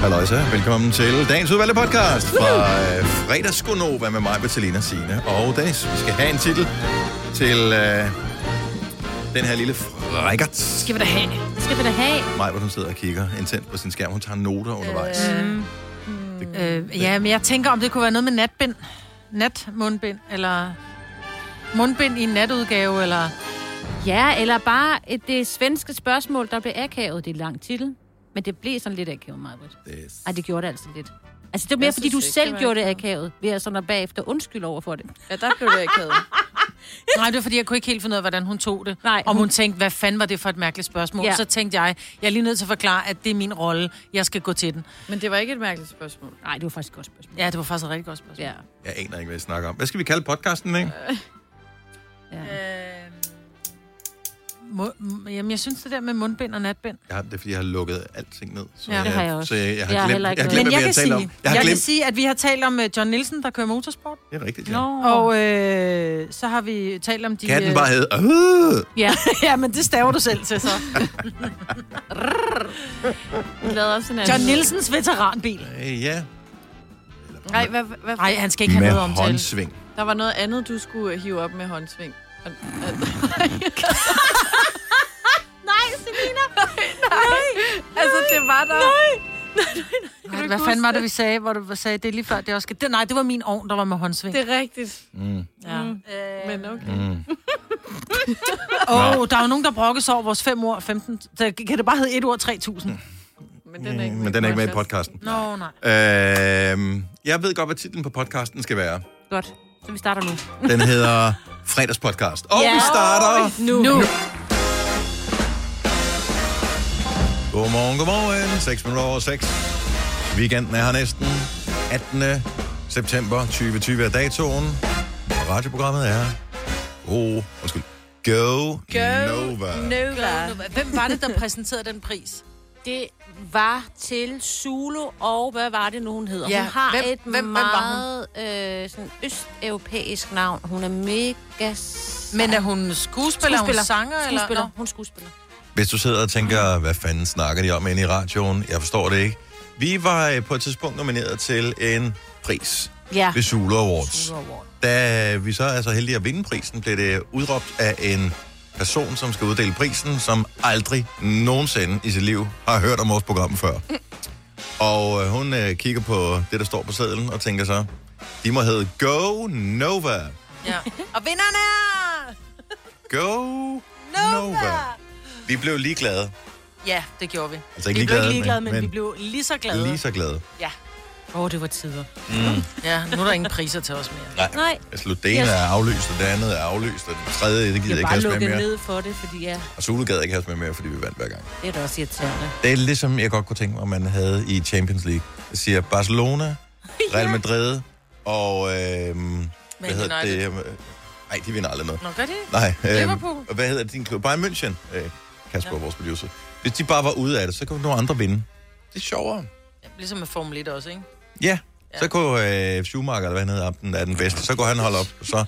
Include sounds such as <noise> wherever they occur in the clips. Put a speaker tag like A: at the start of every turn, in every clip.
A: Halløjsa, velkommen til dagens udvalgte podcast fra øh, fredagsgonova med mig, Bettelina Sine og Dennis. Vi skal have en titel til øh, den her lille frækkert.
B: Skal vi da have? Skal vi da have?
A: Maj, hvor hun sidder og kigger intens på sin skærm. Hun tager noter undervejs.
B: Øh, øh, ja, men jeg tænker, om det kunne være noget med natbind. Natmundbind, eller mundbind i en natudgave,
C: <laughs>
B: eller...
D: Ja, eller bare et, det svenske spørgsmål, der blev akavet. Det er en lang titel, men det blev sådan lidt akavet, Marvitt.
A: Yes.
D: Ej, det gjorde det altså lidt. Altså, det var mere,
C: Jeg
D: fordi
C: synes
D: du
C: ikke,
D: selv
C: det var
D: gjorde det
C: akavet.
D: akavet, ved at sådan at bagefter undskylde over for det.
C: Ja, der blev det akavet.
B: Nej, det var fordi, jeg kunne ikke helt finde ud af, hvordan hun tog det.
D: Nej.
B: Om hun tænkte, hvad fanden var det for et mærkeligt spørgsmål? Ja.
D: Ja.
B: Så tænkte jeg, jeg er lige nødt til at forklare, at det er min rolle. Jeg skal gå til den.
C: Men det var ikke et mærkeligt spørgsmål.
D: Nej, det var faktisk et godt spørgsmål.
B: Ja, det var faktisk et rigtig godt spørgsmål.
D: Ja.
A: Jeg aner ikke, hvad jeg snakker om. Hvad skal vi kalde podcasten, ikke?
D: ja.
B: Øh, Mu- m- jamen, jeg synes det der med mundbind og natbind.
A: Jeg har, det er, fordi jeg har lukket alting ned. Så
B: Ja, det
D: har jeg også.
A: Så Øh, jeg, jeg har
D: Jeg har
A: glemt,
D: heller ikke
A: jeg har
D: noget.
A: glemt
B: Men
A: hvad
B: jeg,
A: vi
B: kan sige, jeg,
A: har talt om. Jeg har
B: kan
A: glemt.
B: sige, at vi har talt om øh, John Nielsen, der kører motorsport.
A: Det er rigtigt,
D: Nå.
A: ja.
B: Og øh, så har vi talt om de...
A: Katten
B: øh,
A: bare hed. Øh!
D: ja.
B: <laughs> ja, men det staver du selv til, så.
C: Vi lavede også en anden.
B: John Nielsens veteranbil.
A: Øh, Ja,
C: Nej, hvad, hvad,
B: Nej, han skal ikke have
A: med
B: noget omtale.
A: håndsving.
C: der var noget andet, du skulle øh, hive op med håndsving. Og-
D: Nej,
C: <laughs>
D: Selina!
C: Altså, det var der. Nej.
B: Ej, hvad fanden var det, vi sagde, hvor du sagde, det er lige før, det også skal... Det, nej, det var min ovn, der var med håndsving.
C: Det er rigtigt.
A: Mm.
B: Ja.
C: Mm.
B: Åh,
C: Men okay.
B: oh, der er jo nogen, der brokkes over vores 5 ord 15... Så kan det bare hedde 1 ord 3000?
A: Mm.
B: Nå,
C: Men den er ikke,
A: Men den er ikke med i podcasten.
B: nej.
A: Øh, jeg ved godt, hvad titlen på podcasten skal være.
D: <laughs> Godt. Så vi starter nu.
A: Den hedder Fredagspodcast. Og
D: Ja.
A: vi starter...
C: Nu.
B: Nu.
A: Godmorgen, godmorgen. 6 minutter over 6. Weekenden er her næsten. 18. september 2020 er datoen. Og radioprogrammet er... Oh, undskyld. Go, Nova.
C: Nova.
B: Hvem var det, der præsenterede den pris?
D: Det var til Zulu, og hvad var det nu, hun hedder?
B: Ja,
D: Hun har
B: hvem-
D: et
B: hvem- hvem var
D: meget øh, sådan østeuropæisk navn. Hun er mega... Spiller,
B: Men er hun skuespiller, skuespiller. hun sanger?
D: skuespiller.
B: Eller? Nå.
D: Hun er skuespiller.
A: Hvis du sidder og tænker, hvad fanden snakker de om inde i radioen? Jeg forstår det ikke. Vi var øh, på et tidspunkt nomineret til en pris
D: Ja.
A: ved Zulu Awards.
D: Zulu Award.
A: Da vi så er så heldige at vinde prisen, blev det udråbt af en person, som skal uddele prisen, som aldrig nogensinde i sit liv har hørt om vores program før. Og øh, hun øh, kigger på det, der står på sedlen, og tænker så, de må hedde Go Nova.
B: Ja. Og vinderne er...
A: Go Nova. Nova. Vi blev ligeglade.
B: Ja, det gjorde vi.
A: Altså ikke
B: Vi blev
A: ligeglade,
B: ikke ligeglade, men,
A: men
B: vi blev lige så glade.
A: lige så glade.
D: Åh, oh, det var tider.
B: Ja, nu er der ingen priser til os mere.
A: Nej.
D: Nej.
A: Altså, det ene
D: Yes.
A: er aflyst, og det andet er aflyst, og det tredje, det gider jeg
D: Jeg
A: ikke
D: bare
A: have os med
D: lukket
A: mere.
D: ned for det, fordi ja,
A: Og Zulu gad ikke have os med mere, fordi vi vandt hver gang.
D: det er da også irriterende.
A: Det er ligesom, jeg godt kunne tænke mig, man havde i Champions League. Jeg siger <laughs> Barcelona, Real Madrid og... Øhm, hvad hedder det? Nej, de vinder aldrig noget.
B: Nå, gør det?
A: Nej. øhm,
B: Liverpool.
A: og hvad hedder din klub? Bayern München, øh, Kasper, ja. vores producer. Hvis de bare var ude af det, så kunne nogle andre vinde. Det er sjovere.
B: Ligesom med Formel 1 også, ikke?
A: Ja. ja. Så kunne øh, Schumacher, eller hvad han hedder, ham, den er den bedste. Så kunne han holde op. <laughs> Så.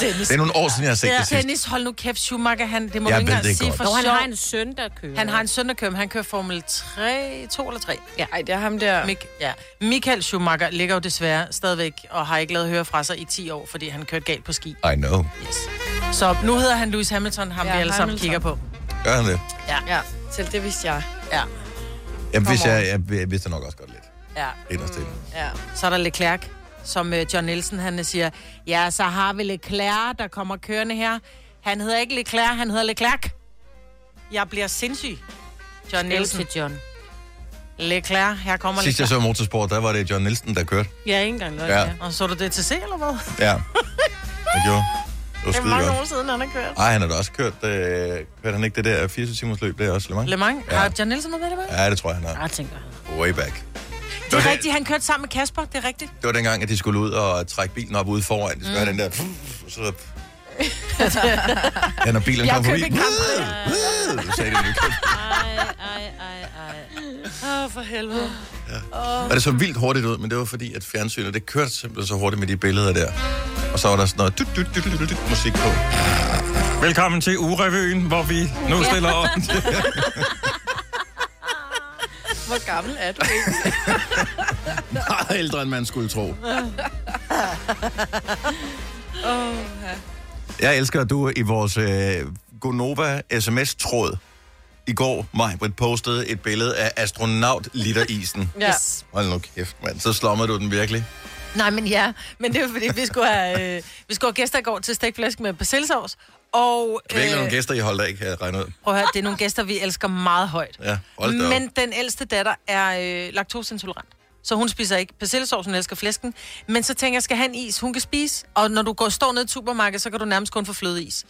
A: Det er nogle år siden, jeg har set ja. det sidst.
B: Dennis, hold nu kæft, Schumacher, han, det må
A: Jeg
B: du ikke
A: ved
B: engang
A: det
B: sige
A: godt.
B: for
D: Og han
B: sjov.
D: har en søn, der kører.
B: Han har en søn, der kører, men han kører Formel 3, 2 eller 3.
C: Ej, det er ham der.
B: Mik ja. Michael Schumacher ligger jo desværre stadigvæk og har ikke lavet høre fra sig i 10 år, fordi han kørte galt på ski.
A: I know.
B: Yes. Så nu hedder han Lewis Hamilton, ham ja,
C: Ja,
B: vi alle sammen
C: Hamilton.
B: kigger på.
A: Gør han det?
C: Ja, selv det vidste jeg.
B: Ja.
A: Jeg, hvis
B: on.
A: jeg, jeg, jeg vidste nok også godt lidt.
B: ja.
A: Inderst mm.
C: Ja.
B: Så er der Leclerc, som øh, John Nielsen han øh, siger, ja, så har vi Leclerc, der kommer kørende her. Han hedder ikke Leclerc, han hedder Leclerc. Jeg bliver sindssyg. John Nielsen.
D: Nielsen. John.
B: Leclerc, her kommer
A: Sidst jeg
B: Leclerc.
A: så motorsport, der var det John Nielsen, der kørte.
D: Ja, ikke engang løgn.
A: Ja.
D: Ja.
B: Og så du det til se, eller hvad?
A: Ja. Det gjorde. Det var skide godt.
B: siden, han har kørt.
A: Ej, han har da også kørt, øh, kørte han ikke det der 24 timers løb, det er også Le Mans?
B: Le Mans. Ja. Har John Nielsen noget med det, var?
A: Ja, det tror jeg, han har.
D: Jeg tænker, han.
A: Way back.
B: Det er rigtigt, han kørte sammen med Kasper, det er
D: <laughs>
B: rigtigt.
A: Det var dengang, at de skulle ud og trække bilen op ude foran. De skulle mm. have den der... Så... ja, når bilen kom forbi... Så sagde de det.
B: Åh, oh, for helvede.
A: Og det så vildt hurtigt ud, men det var fordi, at fjernsynet, det kørte simpelthen så hurtigt med de billeder der. Og så var der sådan noget dut, dut, dut, dut, dut, dut, musik på. Velkommen <laughs> til Urevyen, hvor vi nu stiller op.
C: <laughs> Hvor gammel er du ikke?
B: <laughs>
A: Meget ældre, end man skulle tro.
C: Åh, ja.
A: Jeg elsker, at du i vores øh, Gonova sms-tråd i går, mig, postede et billede af astronaut-literisen.
C: ja.
B: Yes.
A: Hold nu kæft, mand. Så slummer du den virkelig.
B: Nej, men ja, men det er fordi, vi skulle have, øh, vi skulle have gæster i går til stegflæsk med persillesovs. Og, øh,
A: Virkelig nogle gæster, I holdt af, kan jeg regne ud.
B: prøv at høre, det er nogle gæster, vi elsker meget højt.
A: Ja, hold da op.
B: men den ældste datter er øh, laktoseintolerant. Så hun spiser ikke persillesovs, hun elsker flæsken. Men så tænker jeg, skal han is, hun kan spise. Og når du går står ned i supermarkedet, så kan du nærmest kun få flødeis.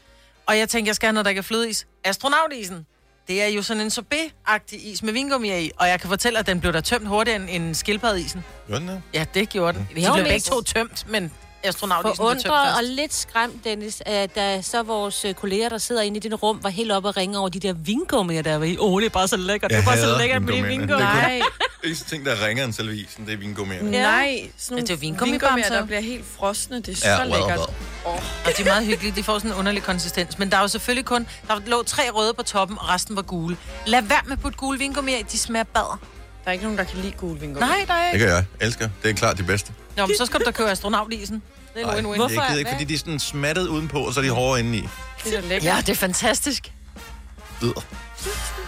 B: Og jeg tænker, jeg skal have noget, der ikke er flødeis. Astronautisen. Det er jo sådan en sorbet-agtig is med vingummi i. Og jeg kan fortælle, at den blev der tømt hurtigere end, end skildpaddeisen.
A: Hvordan er
B: Ja, det gjorde
A: Mm.
B: den. Vi
D: Jo,
B: har jo
D: men-
B: begge to tømt, men astronautisen blev tømt
E: Forundret og
B: først.
E: lidt skræmt, Dennis, at da så vores øh, kolleger, der sidder inde i din rum, var helt oppe og ringe over de der vingummier, der var i. Åh, oh, det er bare så lækkert.
A: Jeg
E: det er bare
A: hader
E: så lækkert med de
A: vingummierne.
E: vingummier.
A: Det er
C: Nej,
A: det <laughs> eneste ting, der ringer en selve isen, det er vingummier.
E: Ja.
C: nej. Sådan
B: Ja, det er jo
C: nogle
B: vingummibamser.
C: vingummier, der bliver helt frosne. Det er så
A: Ja,
C: ja,
A: wow,
C: lækkert.
A: wow.
C: Åh,
B: Og de er meget hyggelige, de får sådan en underlig konsistens. Men der er jo selvfølgelig kun, der lå tre røde på toppen, og resten var gule. Lad være med at putte gule vingummier i, de smager bader.
C: der er ikke nogen, der kan lide gule vingummier.
B: Nej, der er
A: Det
B: ikke.
A: kan jeg. Elsker. Det er klart de bedste.
B: Nå, men så skal du da købe astronautisen. Det er en
A: Ej,
B: win-win.
A: jeg gider ikke, fordi de er sådan smattet udenpå, og så er de hårde indeni.
C: Det er da lækkert.
B: Ja, det er fantastisk.
A: Øh.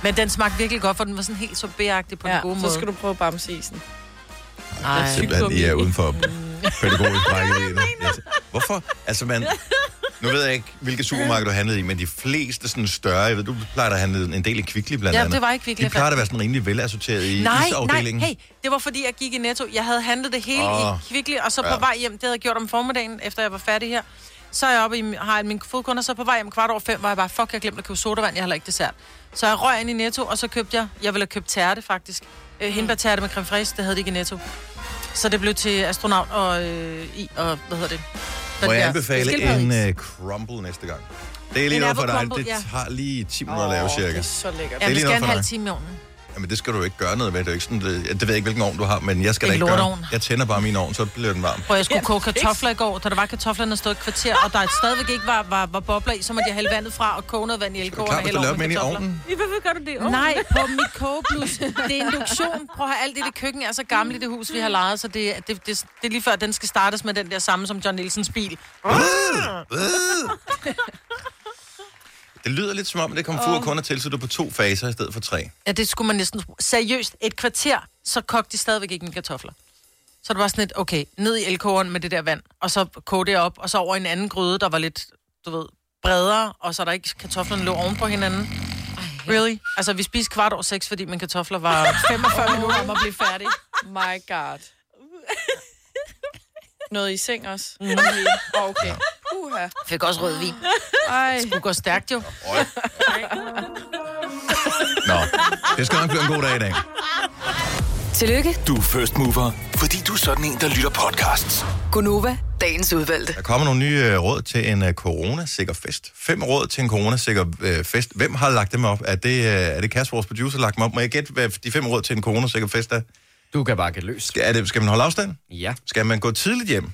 B: Men den smagte virkelig godt, for den var sådan helt sorbetagtig på ja, den gode
C: Ja,
B: måde.
C: så skal du prøve bamseisen.
B: Ej,
A: Simpelthen, I er uden
B: <laughs>
A: for pædagogisk rækkevidde. Altså, Hvorfor? Altså, man... Nu ved jeg ikke, hvilke supermarked du handlede i, men de fleste sådan større, jeg ved, du plejer at handle en del i Kvickly blandt
B: Ja,
A: andet.
B: det var i Kvickly,
A: De
B: jeg
A: plejer
B: fandt.
A: at være sådan rimelig velassorteret i
B: Nej, nej,
A: isafdelingen.
B: hey, det var fordi, jeg gik i Netto. Jeg havde handlet det hele oh.
A: Åh.
B: i Kvickly, og så på
A: Ja.
B: vej hjem, det havde jeg gjort om formiddagen, efter jeg var færdig her. Så er jeg oppe i, har jeg min fodkunder, så på vej hjem kvart over fem, var jeg bare, fuck, jeg glemte at købe sodavand, jeg har heller ikke dessert. Så jeg røg ind i Netto, og så købte jeg, jeg ville have købt tærte faktisk. Øh, hindbærtærte med creme fraiche, det havde de ikke i Netto. Så det blev til astronaut og øh, i, og hvad hedder det? Den
A: Må jeg
B: der
A: anbefale
B: skildpaddeis.
A: en uh, crumble næste gang? Det er lige
B: En
A: noget for
B: apple
A: dig.
B: crumble,
A: Det
B: ja.
A: tager lige 10 minutter at lave,
C: Åh,
A: cirka.
C: Det er så lækkert.
B: Ja,
A: er
B: vi
A: lige
B: skal have
A: noget
B: en
A: for
B: halv
A: dig.
B: time i ovnen.
A: Jamen, det skal du jo ikke gøre noget ved. Det, er jo ikke sådan, det, det ved jeg ikke, hvilken ovn du har, men jeg skal
B: En
A: da ikke gøre.
B: lorteovn.
A: Jeg tænder bare min ovn, så bliver den varm.
B: Prøv, jeg skulle koge kartofler i går, da der var kartoflerne stået et kvarter, og der stadigvæk ikke var, var, var bobler i, så måtte jeg hælde vandet fra og koge noget vand i elkåren
A: Klar,
B: og
A: hvis du
B: hælde
A: laver
B: over
A: dem
B: med
A: ind i
B: kartofler.
A: ovnen.
D: Hvorfor gør du det? Oh.
B: Nej,
D: <laughs>
B: på mit kogeplus. Det er induktion. Prøv at høre, alt det, det køkken er så gammelt i det hus, vi har lejet, så det, det, det, det er lige før, den skal startes med den der samme som John Nielsens bil.
A: Det lyder lidt som om, det komfur oh. kun er tilsat på to faser i stedet for tre.
B: Ja, det skulle man næsten... Seriøst, et kvarter, så kogte de stadigvæk ikke mine kartofler. Så det var sådan lidt, okay, ned i elkåren med det der vand, og så koge det op, og så over i en anden gryde, der var lidt, du ved, bredere, og så der ikke kartoflerne lå oven på hinanden. Really? Altså, vi spiste kvart over seks, fordi mine kartofler
C: <laughs>
B: var 45 minutter om at blive færdige.
C: My God. Noget i seng også? Mm. Okay. okay. Uha.
B: Mhm. Fik også rødvin.
C: Ej.
B: Det går stærkt jo.
A: Øj. Nå, det skal nok blive en god dag i dag.
F: Tillykke,
G: Du er first mover, fordi du er sådan en, der lytter podcasts.
F: Gunova, dagens udvalgte.
A: Der kommer nogle nye øh, råd til en uh, coronasikker fest. Fem råd til en coronasikker uh, fest. Hvem har lagt dem op? Er det, uh, er det Kasper, vores producer, der har lagt dem op? Må jeg gætte, hvad de fem råd til en coronasikker fest er?
H: Du kan bare gætte løs.
A: Skal, er det, skal man holde afstand?
H: Ja.
A: Skal man gå tidligt hjem?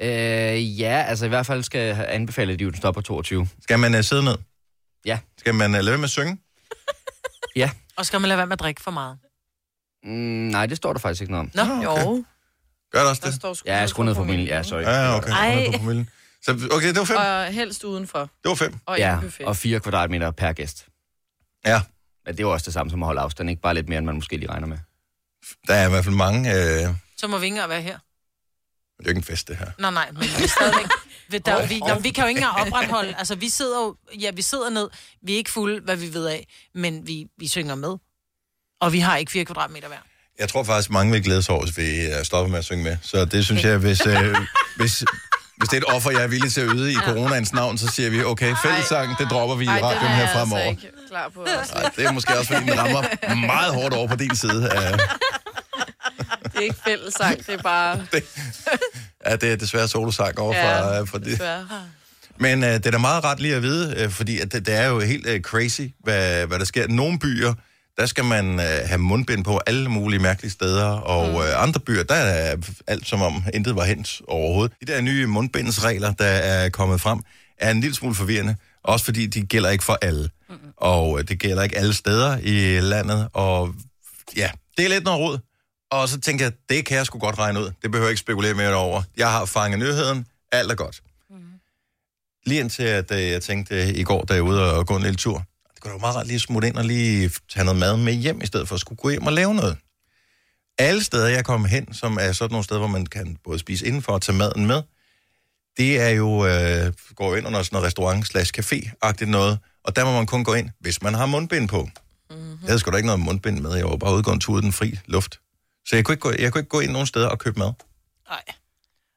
H: Øh, ja, altså i hvert fald skal jeg anbefale, at de jo stopper 22.
A: Skal man uh, sidde ned?
H: Ja.
A: Skal man uh, lade være med at synge?
H: Ja.
B: Og skal man lade være med at drikke for meget.
H: Mm, nej, det står der faktisk ikke noget om.
B: Nå,
C: Jo.
A: Gør det også
C: Der
A: det?
C: står sgu
H: Ja, jeg skruer ned for familien. Ja, sorry.
A: Ja, okay. Hold da på promillen. Så, okay, det var fem.
C: Og helst udenfor.
A: Det var fem.
C: Og ja,
H: Ja,
C: i buffet.
H: og 4 kvadratmeter per gæst.
A: Ja,
H: Men det er jo også det samme som at holde afstand, ikke bare lidt mere, end man måske lige regner med.
A: der er i hvert fald mange... Øh, det
B: så må vi ikke engang være her.
A: er jo ikke en fest, det her.
B: Nej, nej, men vi er stadigvæk... <laughs> Ved der, vi, jamen, vi kan jo ikke engang opretholde... Altså, vi sidder jo... Ja, vi sidder ned. Vi er ikke fulde, hvad vi ved af, men vi, vi synger med. Og vi har ikke 4 kvadratmeter hver.
A: Jeg tror faktisk, mange vil glæde sig over, hvis vi øh, stopper med at synge med. Så det synes jeg,
C: <laughs>
A: hvis, øh, hvis, hvis det er et offer, jeg er villig til at yde i coronaens navn, så siger vi, okay, fællessang, det dropper vi i
C: Ej, den
A: radioen
C: er
A: her
C: jeg
A: fremover.
C: altså ikke klar på. Altså.
A: Ej, det er måske også, fordi den rammer meget hårdt over på din side. af-
C: Det er ikke fællesang, det er bare...
A: Ja, det er desværre solosang over fra, øh, fra det.
C: desværre.
A: Men øh, det er da meget ret lige at vide, øh, fordi at det, det er jo helt øh, crazy, hvad, hvad der sker. Nogle byer, der skal man øh, have mundbind på alle mulige mærkelige steder, og øh, andre byer, der er alt som om intet var hent overhovedet. De der nye mundbindsregler, der er kommet frem, er en lille smule forvirrende, også fordi de gælder ikke for alle. Og øh, det gælder ikke alle steder i landet, og ja, Det er lidt noget rod. Og så tænker jeg, det kan jeg sgu godt regne ud. Det behøver jeg ikke spekulere mere over. Jeg har fanget nyheden. Alt er godt. Lige indtil, at øh, jeg tænkte øh, i går, da jeg var ude og gå en lille tur. Det kunne da være meget rart lige at smutte ind og lige tage noget mad med hjem, i stedet for at skulle gå hjem og lave noget. Alle steder, jeg kom hen, som er sådan nogle steder, hvor man kan både spise indenfor og tage maden med, det er jo, øh, går jo ind under sådan noget restaurant slash café-agtigt noget, og der må man kun gå ind, hvis man har mundbind på. Mm-hmm. Jeg havde sgu da ikke noget mundbind med, jeg var bare ude og gå en tur i den fri luft. Så jeg kunne, ikke gå, jeg kunne ikke gå ind nogen steder og købe mad.
B: Nej.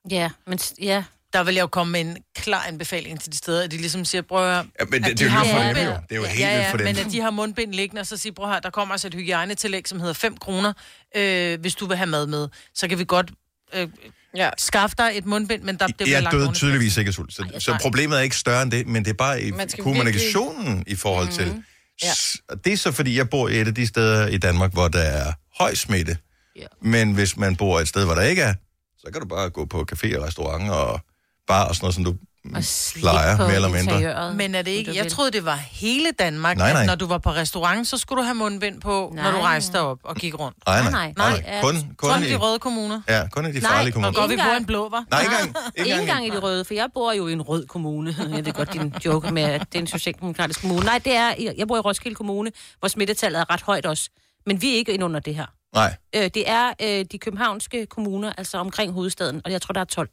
D: Ja, men s- ja.
B: Der vil jeg jo komme med en klar anbefaling til de steder, at de ligesom siger, prøv at høre,
A: Ja, men det,
B: at
A: det, er jo
B: har
A: nyt for dem
B: mundbind.
A: jo. Det er jo
B: ja,
A: helt
B: ja,
A: nyt for dem.
B: men at de har mundbind liggende, og så siger, bror her, der kommer altså et hygiejnetillæg, som hedder 5 kroner, øh, hvis du vil have mad med. Så kan vi godt øh,
C: Ja.
B: skaffe dig et mundbind, men der, det bliver
A: jeg
B: langt
A: døde
B: oven i
A: tydeligvis ikke af sult. Så, så
B: nej.
A: problemet er ikke større end det, men det er bare i
C: Man skal
A: kommunikationen i forhold til.
D: Mhm.
A: Mm. Ja. Det er så, fordi jeg bor i et af de steder i Danmark, hvor der er høj smitte.
E: Ja.
A: Men hvis man bor et sted, hvor der ikke er, så kan du bare gå på café og restaurant og bar og sådan noget, som du
D: Og slik
A: plejer,
D: på
A: mere eller mindre.
D: interiøret.
B: Men er det ikke?
D: du
B: Jeg
D: vil.
B: troede, det var hele Danmark,
A: Nej,
B: nej, nej.
A: nej.
B: at når du var på restaurant, så skulle du have mundbind på, nej.
D: Nej.
B: når du rejste op og gik rundt.
A: Nej,
D: Nej,
A: nej, nej.
D: nej.
A: nej, nej. Kun, kun,
B: Kun
A: i,
B: de røde kommuner.
A: ja, kun i de
D: Nej,
A: farlige
D: hvor
B: Går
A: kommuner.
D: godt.
B: vi
D: Ikke
B: på
D: engang.
B: en blå, var?
D: <laughs>
A: Nej, ikke engang.
D: Ikke engang i
A: i-
D: de røde, for jeg bor jo i en rød kommune. <laughs> Jeg ved godt, din joke med, at det er en socialdemokratisk kommune. Nej, det er, jeg bor i Roskilde Kommune, hvor smittetallet er ret højt også. Men vi er ikke ind under det her.
A: Nej,
D: Øh, det er øh, de københavnske kommuner, altså omkring hovedstaden, og jeg tror, der er 12.
A: Altså,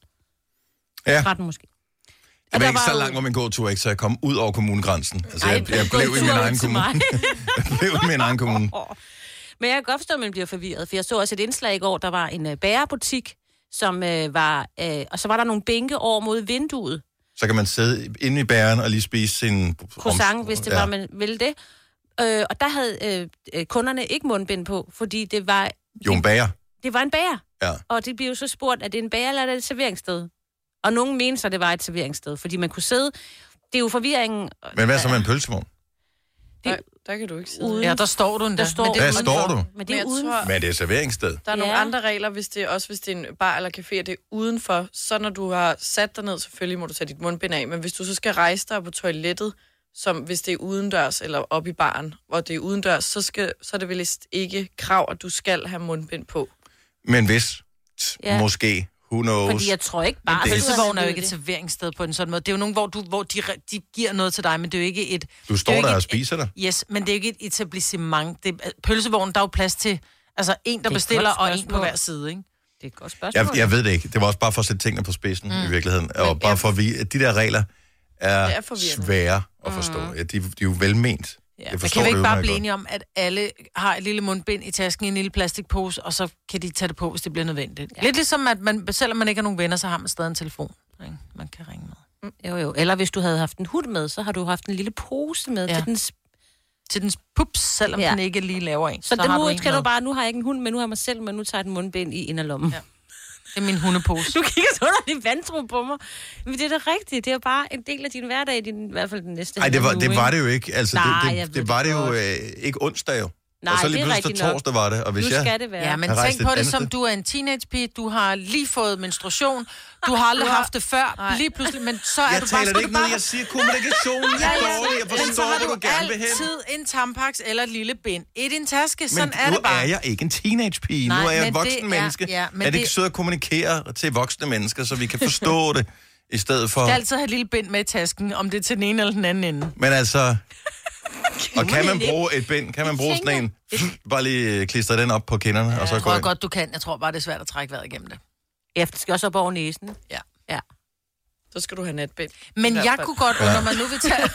A: ja.
D: 13 måske.
A: Jeg var
D: der
A: ikke
D: var
A: så
D: jo-
A: langt om en god tur, ikke, så jeg kom ud over kommunegrænsen. Altså, jeg, jeg,
D: Gå
A: blev
D: en
A: i min
D: tur ud
A: egen
D: til
A: kommune.
D: mig.
A: <laughs> jeg blev i min egen kommune.
D: Men jeg kan godt forstå, at man bliver forvirret, for jeg så også et indslag i går, der var en øh, bagerbutik, som øh, var, øh, og så var der nogle bænke over mod vinduet.
A: Så kan man sidde inde i bæren og lige spise sin...
D: croissant, hvis det var, man ville det. Øh, og der havde øh, øh, kunderne ikke mundbind på, fordi det var,
A: Jo, en bager.
D: det var en bager.
A: Ja.
D: Og det blev jo så spurgt, er det en bager eller er det et serveringssted? Og nogen mente så, det var et serveringssted, fordi man kunne sidde... Det er jo forvirringen
A: Men hvad så med en pølsevogn?
C: Der, der kan du ikke sidde.
D: ude.
B: Ja, der står du endda.
D: Der står-
B: Men det er
A: Hvad
D: Hvad
B: uden-
A: står du?
D: Men
C: Men
D: det er
C: jeg
D: uden...
C: tror-
A: Men det er et serveringssted.
C: Der er nogle
D: Ja.
C: andre regler, hvis det er, også hvis det er en bar eller café, og det er udenfor. Så når du har sat dig ned, selvfølgelig må du tage dit mundbind af, men hvis du så skal rejse dig på toilettet, som hvis det er udendørs eller op i baren, hvor det er udendørs, så, skal, så er det vel vist ikke krav, at du skal have mundbind på.
A: Men hvis, t-
D: Ja.
A: måske, who knows.
D: Fordi jeg tror ikke bare...
B: Bare
A: det-
B: pølsevogn er jo ikke et serveringssted på en sådan måde. Det er jo nogen, hvor, du, hvor de, re- de giver noget til dig, men det er jo ikke et...
A: Du
B: det er jo
A: står
B: ikke
A: der og
B: et-
A: spiser dig.
B: Yes, men det er jo ikke et etablissement. Det, er- pølsevognen, der er jo plads til altså en, der
D: et
B: bestiller,
D: godt
B: og en på
D: spørgsmål.
B: hver side, ikke?
D: Det er et godt spørgsmål.
A: Jeg, jeg ved det ikke. Det var også bare for at sætte tingene på spidsen mm. i virkeligheden. Og bare for at vi, at de der regler er,
C: Det er
A: er
C: forvirrende.
A: svære at forstå. Mm. Ja, de, de er jo velment.
B: Ja,
A: Jeg
B: men
A: forstår
B: kan vi
A: det
B: ikke bare
A: udmærket
B: blive
A: godt.
B: enige om, at alle har et lille mundbind i tasken i en lille plastikpose, og så kan de tage det på, hvis det bliver nødvendigt? Ja. Lidt ligesom, at man, selvom man ikke har nogen venner, så har man stadig en telefon, ikke? man kan ringe med.
D: Mm, Jo, jo. Eller hvis du havde haft en hund med, så har du haft en lille pose med
B: Ja.
D: ja. til den... sp-
B: Til dens pups, selvom ja.
D: Ja.
B: den ikke lige laver en.
D: Så, så den
B: har
D: nu
B: en
D: skal
B: med.
D: du bare... Nu har jeg ikke en hund, men nu har jeg mig selv, men nu tager jeg den mundbind i inderlommen. Ja.
B: Det er min hundepose.
D: <laughs> Du kigger så underligt vantro på mig. Men det er da rigtigt. Det er bare en del af din hverdag, din, i hvert fald den næste
A: Nej, det var,
D: halve
A: det
D: uge,
A: var
D: ikke?
A: det jo ikke. Altså,
D: Nej,
A: det,
D: jeg ved
A: det, det
D: det
A: var det jo
D: godt.
A: øh, ikke onsdag jo.
D: Nej,
A: og så
D: det
A: lige
D: er
A: pludselig
D: rigtigt nok.
A: torsdag var det. Og hvis
D: Nu
A: jeg,
D: skal det være.
B: Ja, men
A: Jeg rejste
B: tænk på
A: et
B: det
A: andet
B: som,
A: sted.
B: du er en teenagepige, du har lige fået menstruation, du har aldrig haft det før, lige pludselig, men så er
A: jeg
B: du bare...
A: taler det ikke ned. Jeg siger, kommunikationen er dårlig. Jeg
B: men så
A: forstår,
B: har
A: hvor
B: du
A: du gerne vil hen.
B: altid en tampaks eller et lille bind. Et i en taske,
A: Men
B: sådan er
A: nu
B: det bare.
A: er jeg ikke en teenagepige. Nu
B: Nej,
A: er jeg et
B: men
A: voksen
B: det er-
A: menneske.
B: ja, men
A: er det
B: det-
A: ikke sødt at kommunikere til voksne mennesker, så vi kan
B: <laughs>
A: forstå det, i stedet for...
B: skal altid have et lille bind med i tasken, om det er til den ene eller den anden ende.
A: Men
B: <laughs>
A: altså... Og kan man bruge et bind? Kan man bruge sådan en? Bare lige klistre den op på kinderne, og så
B: Jeg
A: gå
B: tror jeg
A: ind.
B: godt, du kan. Jeg tror bare, det er svært at trække vejret igennem det.
D: Ja, for det skal også op over næsen.
B: Ja.
D: Ja.
C: Så skal du have natbind.
B: Men
C: I hvert
B: jeg
C: fald.
B: kunne godt, når man nu vil
C: <laughs>
B: tage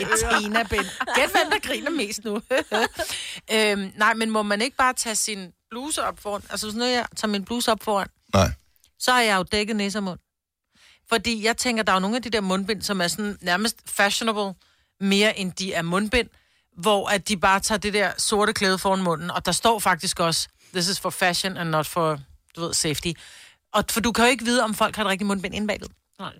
B: et Tina-bind. Gæt, hvem der griner mest nu. <laughs> øhm, nej, men må man ikke bare tage sin bluse op foran? Altså, hvis nu jeg tager min bluse op foran,
A: Nej.
B: så har jeg jo dækket næse og mund. Fordi jeg tænker, der er jo nogle af de der mundbind, som er sådan nærmest fashionable, mere end de er mundbind, hvor at de bare tager det der sorte klæde foran munden, og der står faktisk også, this is for fashion and not for, du ved, safety. Og for du kan jo ikke vide, om folk har et rigtigt mundbind indbagved.
D: Nej.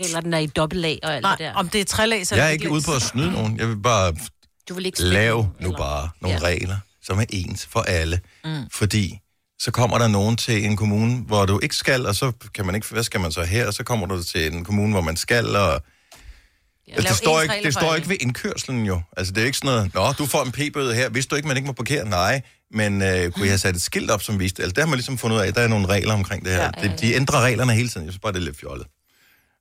D: Eller den er i dobbelt lag og alt
B: Nej,
D: det der.
B: om det er trælæs eller
A: Jeg er ikke ude på at snyde nogen. Jeg vil bare
D: Du vil ikke smitte
A: lave
D: nogen,
A: nu
D: eller-
A: bare nogle regler, som er ens for alle. Fordi så kommer der nogen til en kommune, hvor du ikke skal, og så kan man ikke, hvad skal man så her, og så kommer du til en kommune, hvor man skal, og Altså, det, står
B: ens
A: ikke,
B: regler
A: det
B: for
A: står
B: alle.
A: ikke ved indkørselen jo. Altså, det er ikke sådan noget, Nå, du får en p-bøde her. Vidste du ikke, man ikke må parkere? Nej, men øh, kunne jeg have sat et skilt op, som viste det? Altså, der har man ligesom fundet ud af, at der er nogle regler omkring det her. Ja, ja, ja. De ændrer reglerne hele tiden. Jeg synes bare, det er lidt fjollet.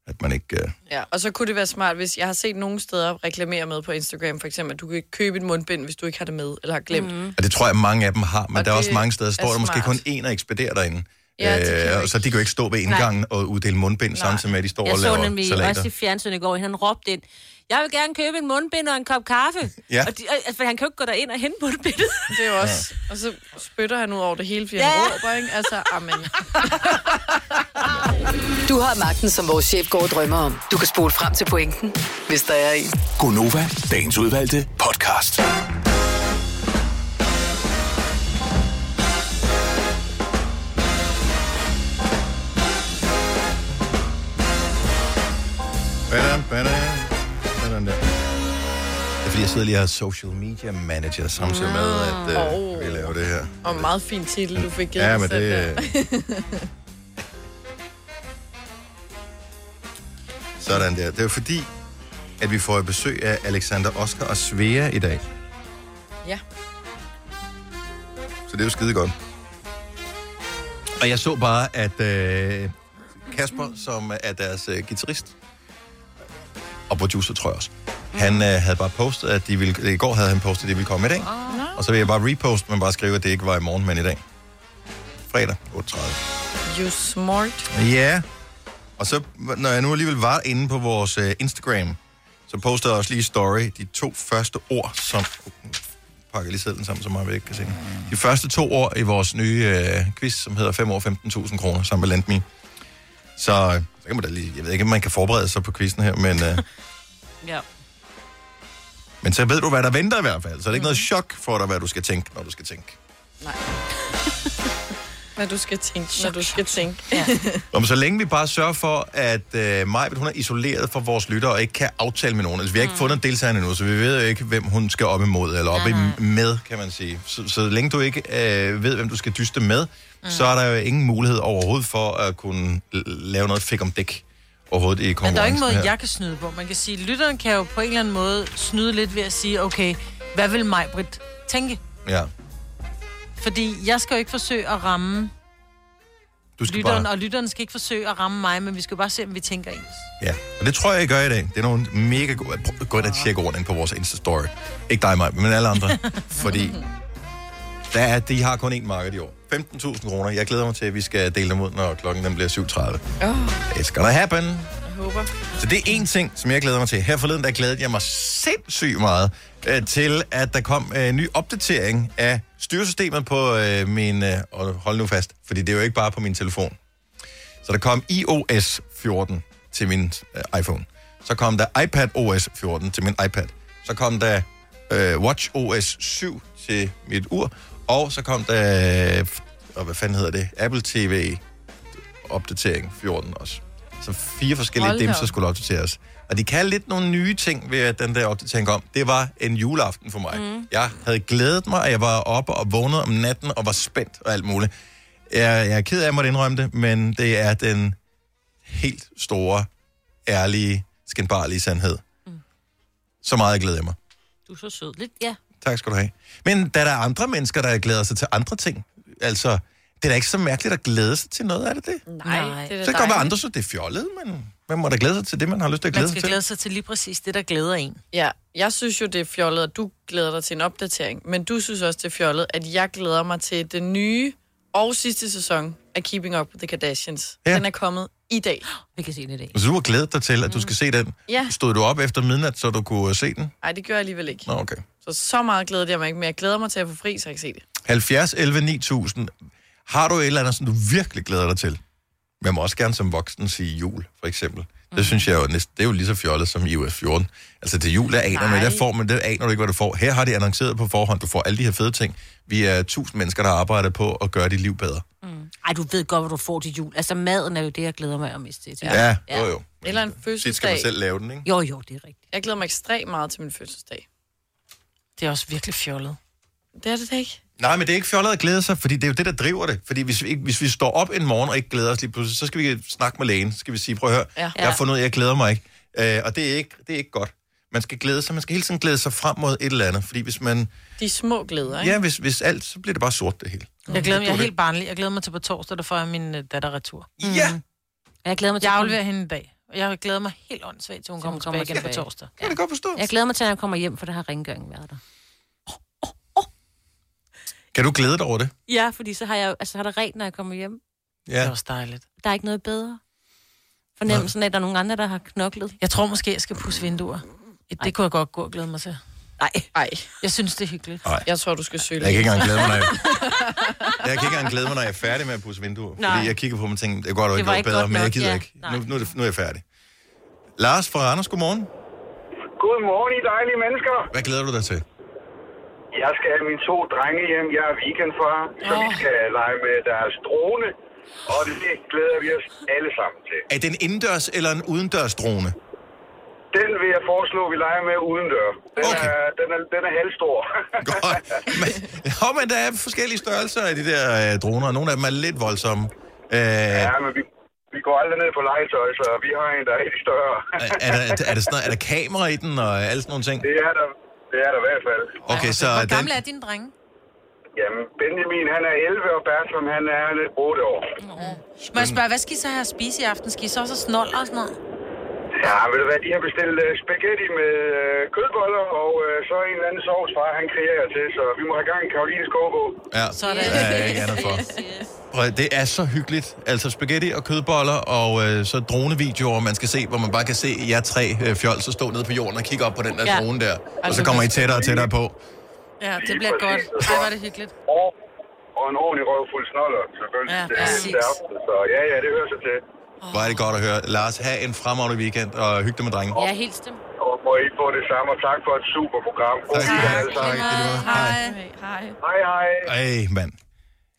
A: At man ikke... Øh...
C: Ja, og så kunne det være smart, hvis jeg har set nogle steder reklamere med på Instagram, for eksempel, at du kan ikke købe et mundbind, hvis du ikke har det med, eller har glemt.
B: Mhm.
C: Mm.
A: Og det tror jeg, mange af dem har, men
C: Og
A: og der er
C: det
A: også mange steder, står
C: er
A: der måske kun
C: smart.
A: én og ekspederer derinde.
C: Ja, det kan
A: Ja,
C: jo
A: øh, og
C: ikke.
A: så de kan jo ikke stå ved indgangen Nej. og uddele mundbind, Nej. samtidig med, at de står
D: Jeg
A: og
D: så
A: laver
D: nemlig salater.
A: salater.
D: også i fjernsynet i går, han råbte ind, jeg vil gerne købe en mundbind og en kop kaffe.
A: Ja.
D: Og de, altså, for han kan jo ikke gå derind og hente mundbindet.
C: Det er jo også... Ja. Og så spytter han ud over det hele, fordi ja. han råber, ikke? Altså, amen.
F: Du har magten, som vores chef går og drømmer om. Du kan spole frem til pointen, hvis der er en.
G: Gonova, dagens udvalgte podcast.
A: Badam, badam, badam der. Det er fordi, jeg sidder lige og er social media manager samtidig med, at øh, vi laver det her.
C: Og en meget fin titel, du fik givet
A: Ja,
C: dig
A: men
C: selv
A: det...
C: der.
A: øh. Sådan der. Det er fordi, at vi får besøg af Alexander Oskar og Svea i dag.
C: Ja.
A: Så det er jo skide godt. Og jeg så bare, at øh, Kasper, som er deres øh, guitarist og producer, tror jeg også, han øh, havde bare postet, at de ville... I går havde han postet, at de ville komme i dag. Og så vil jeg bare reposte, men bare skrive, at det ikke var i morgen, men i dag. Fredag, 8.30.
C: You smart.
A: Ja. Og så, når jeg nu alligevel var inde på vores øh, Instagram, så postede jeg også lige i story de to første ord, som... Nu pakker jeg lige sædlen sammen, så meget vi ikke kan se. den. De første to ord i vores nye øh, quiz, som hedder 5 år 15.000 kroner, sammen med Landmi. Så, øh, så kan man da lige... Jeg ved ikke, om man kan forberede sig på quizzen her, men... Øh,
D: <laughs>
A: <laughs>
D: Ja.
A: men så ved du, hvad der venter i hvert fald. Så det er ikke noget chok for dig, hvad du skal tænke, når du skal tænke.
C: Hvad du skal tænke, når du skal tænke. <laughs>
A: Om så længe vi bare sørger for, at øh, Majbet, hun er isoleret fra vores lyttere og ikke kan aftale med nogen. Altså, vi har ikke mm. fundet deltagerne endnu, så vi ved jo ikke, hvem hun skal op imod, eller op i, med, kan man sige. Så, så længe du ikke øh, ved, hvem du skal dyste med, mm. så er der jo ingen mulighed overhovedet for at kunne l- lave noget fik om dæk overhovedet i
B: Men
A: konkurrencen
B: der er jo ingen måde,
A: her.
B: jeg kan snyde på. Man kan sige, lytteren kan jo på en eller anden måde snyde lidt ved at sige, okay, hvad vil mig, Britt, tænke?
A: Ja.
B: Fordi jeg skal jo ikke forsøge at ramme
A: Du skal
B: lytteren,
A: bare...
B: og lytteren skal ikke forsøge at ramme mig, men vi skal bare se, om vi tænker ens.
A: Ja, og det tror jeg, I gør i dag. Det er nogle mega gode... Prøv- Gå ind og tjek ordene ind på vores Insta-story. Ikke dig, mig, men alle andre. fordi der er, de har kun én marked i år. 15.000 kroner. Jeg glæder mig til, at vi skal dele dem ud, når klokken den bliver 7.30.
C: Åh, oh,
A: It's gonna happen.
C: jeg håber.
A: Så det er en ting, som jeg glæder mig til. Her forleden, der glædede jeg mig sindssygt meget øh, til, at der kom øh, en ny opdatering af styresystemet på øh, min... Øh, og hold nu fast, fordi det er jo ikke bare på min telefon. Så der kom iOS 14 til min øh, iPhone. Så kom der iPad OS 14 til min iPad. Så kom der øh, Watch OS 7 til mit ur. Og så kom der... Øh, og hvad fanden hedder det? Apple TV opdatering 14 også. Så fire forskellige
C: Hold
A: Hold
C: da
A: dimser
C: op.
A: skulle opdateres. Og de kan lidt nogle nye ting ved at den der opdatering kom. Det var en juleaften for mig. Mm. Jeg havde glædet mig, og jeg var oppe og vågnede om natten og var spændt og alt muligt. Jeg, jeg er ked af, at jeg måtte indrømme det, men det er den helt store, ærlige, skinbarlige sandhed. Mm. Så meget glæder jeg mig.
D: Du er så sød. Lidt, ja.
A: Tak skal du have. Men da der er andre mennesker, der glæder sig til andre ting, altså, det er da ikke så mærkeligt at glæde sig til noget, er det det? Så
C: Nej, Nej. det er
A: kan
C: da
A: det godt være,
C: dejligt.
A: andre synes, det er fjollet, men man må da glæde sig til det, man har lyst til at glæde
B: Man
A: sig
B: skal
A: til.
B: glæde sig til lige præcis det, der glæder en.
C: Ja, jeg synes jo, det er fjollet, at du glæder dig til en opdatering. Men du synes også, det er fjollet, at jeg glæder mig til den nye og sidste sæson af Keeping Up with the Kardashians.
A: Ja.
C: Ja. Den er kommet i dag.
D: Vi kan se den i dag.
A: Så du har glædet dig til, at du skal se den.
C: Mm. Ja.
A: Stod du op efter midnat, så du kunne øh, se den?
C: Nej, det gør jeg alligevel ikke.
A: Nå, okay.
C: Så så meget glæder jeg mig ikke, men jeg glæder mig til at få fri, så jeg kan se det.
A: 70, 11, 9000. Har du et eller andet, som du virkelig glæder dig til? Man må også gerne som voksen sige jul, for eksempel.
C: Mm.
A: Det synes jeg jo næsten, det er jo lige så fjollet som iOS 14. Altså til jul, der aner man,
C: Nej.
A: der får man, der aner du ikke, hvad du får. Her har de annonceret på forhånd, du får alle de her fede ting. Vi er tusind mennesker, der arbejder på at gøre dit liv bedre.
D: Ej, du ved godt, hvad du får til jul. Altså, maden er jo det, jeg glæder mig mest til. til.
A: Ja, ja. jo jo.
C: Eller en
A: Det skal man
C: fødselsdag.
A: selv lave den, ikke?
D: Jo, jo, det er rigtigt.
C: Jeg glæder mig ekstremt meget til min fødselsdag.
B: Det er også virkelig fjollet.
C: Det er det da ikke.
A: Nej, men det er ikke fjollet at glæde sig, fordi det er jo det, der driver det. Fordi hvis vi, ikke, hvis vi står op en morgen og ikke glæder os lige pludselig, så skal vi snakke med lægen. Så skal vi sige, prøv at høre, ja.
C: Ja.
A: jeg har fundet ud af, at jeg glæder mig ikke. Øh, og det er, ikke, det er ikke godt. Man skal glæde sig, man skal hele tiden glæde sig frem mod et eller andet, fordi hvis man,
C: De små glæder, ikke?
A: ja, hvis, hvis alt, så bliver det bare sort det hele.
B: Jeg glæder mig, jeg er helt barnlig. Jeg glæder mig til på torsdag, der får jeg min øh, datter retur.
A: Ja, det
D: Mm. Jeg glæder mig til,
B: Jeg
D: at
B: afleverer hende i dag. Og Jeg glæder mig helt åndssvagt, til hun kommer
D: kommer
B: tilbage igen på
D: tilbage.
B: torsdag.
A: kan jeg godt forstå.
D: jeg glæder mig til, at jeg kommer hjem, for der har rengøringen været der.
A: Kan du glæde dig over det?
D: Ja, fordi så har, jeg, altså, så har der rent, når jeg kommer hjem.
B: Det er
A: Ja.
B: også dejligt.
D: Der er ikke noget bedre. Fornemmelsen af, at der er nogen andre, der har knoklet.
B: Jeg tror måske, jeg skal pusse vinduer. Det kunne jeg godt gå og glæde mig til.
D: Nej,
C: Nej,
B: Jeg synes, det er hyggeligt.
C: jeg tror, du skal søge
A: Jeg
C: lidt.
A: kan ikke engang glæde mig, når jeg... <laughs> Jeg kan ikke engang glæde mig, når jeg er færdig med at pusse vinduer. Nej. Fordi jeg kigger på dem og tænker, det går da ikke
D: var
A: noget
D: ikke
A: bedre,
D: godt
A: men jeg
D: nok,
A: gider
D: ja.
A: ikke. Nu, nu, er det, nu er jeg færdig. Lars fra Anders, godmorgen.
I: Godmorgen, I dejlige mennesker.
A: Hvad glæder du dig til?
I: Jeg skal have mine to drenge hjem. Jeg er weekendfar, så vi skal lege med deres drone. Og det glæder vi os alle sammen til.
A: Er det en indendørs eller en udendørs drone?
I: Den vil jeg foreslå, vi leger med uden dør. Den,
A: Okay.
I: okay. er, den, er, den er halvstor.
A: <laughs> Godt. Men, jo, men der er forskellige størrelser af de der øh, droner, og nogle af dem er lidt voldsomme. Øh,
I: ja,
A: er,
I: men vi, vi går aldrig ned på legetøj, så vi har en, der er helt større. <laughs>
A: er, der, er, der sådan noget, er der kamera i den og alle sådan nogle ting?
I: det, er der, det er der i hvert fald.
A: Okay, så
B: Hvor
A: den,
B: gamle er dine drenge?
I: Jamen, Benjamin, han er 11, og Bertram, han er 8 år.
B: Må jeg spørge, hvad skal I så have at spise i aften? Skal I så også snoller og sådan noget?
I: Ja, ved du hvad, de har bestilt øh, spaghetti med øh, kødboller, og øh, så en eller anden sovs, far, han kriger jer til, så vi må have gang i Karolines kogebog.
A: ja,
B: Sådan.
A: der er jeg ikke andet for. Prøv at- Det er så hyggeligt. Altså spaghetti og kødboller og øh, så dronevideoer, man skal se, hvor man bare kan se jer tre øh, fjol, så stå nede på jorden og kigge op på den der
B: Ja.
A: drone der. Og så kommer I tættere og tættere på.
B: <laughs> Ja, det bliver godt. Det var det hyggeligt.
I: Og, og en ordentlig røvfuld snoller, selvfølgelig.
B: Ja,
I: det,
B: præcis.
I: det aften, så ja, ja, det hører sig til.
A: Hvor er det godt at høre. Lars, have en fremragende weekend og hygge dig med drenge.
D: jeg er helt stemt.
I: Og må I få det samme, og tak for et super program. God
A: Tak.
I: weekend alle sammen.
B: Hej.
C: Hej.
I: Hej, hej.
A: Ej, mand.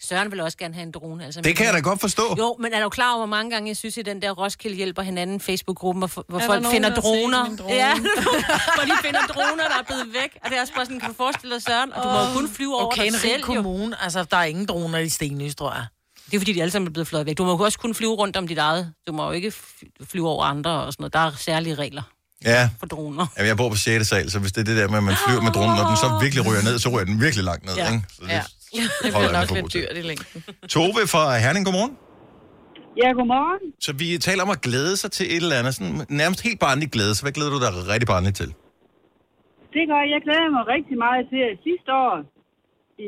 D: Søren vil også gerne have en drone. Altså,
A: Det kan jeg da godt forstå.
D: Jo, men er du klar over, hvor mange gange jeg synes, at den der Roskilde hjælper hinanden Facebook-gruppen, hvor, hvor
C: der
D: folk
C: nogen,
D: finder
C: der har set
D: droner?
C: min drone?
D: Ja, <laughs> hvor de finder droner, der er blevet væk. Og det er også bare sådan, kan du forestille dig, Søren? Og du må jo kun flyve over
B: Okay,
D: okay,
B: en
D: dig
B: rig
D: selv, jo.
B: kommune. Altså, der er ingen droner i Stenløs, tror jeg.
D: Det er fordi, de alle sammen er blevet fløjet væk. Du må jo også kun flyve rundt om dit eget. Du må jo ikke fly- flyve over andre og sådan noget. Der er særlige regler
A: Ja.
D: for droner.
A: Jamen, jeg bor på 6. sal, så hvis det er det der med, at man flyver med dronen, når den så virkelig ryger ned, så ryger den virkelig langt ned, ja. ikke? Så det,
C: Ja.
A: det
C: <laughs> Det
A: holder
C: bliver
A: jeg mig
C: nok
A: for god
C: lidt
A: til.
C: dyrt i længden.
A: Tove fra Herning, godmorgen.
J: Ja, godmorgen.
A: Så vi taler om at glæde sig til et eller andet, sådan nærmest helt barnligt glæde. Så hvad glæder du dig rigtig barnligt til?
J: Det gør jeg. Jeg glæder mig rigtig meget til, at sidste år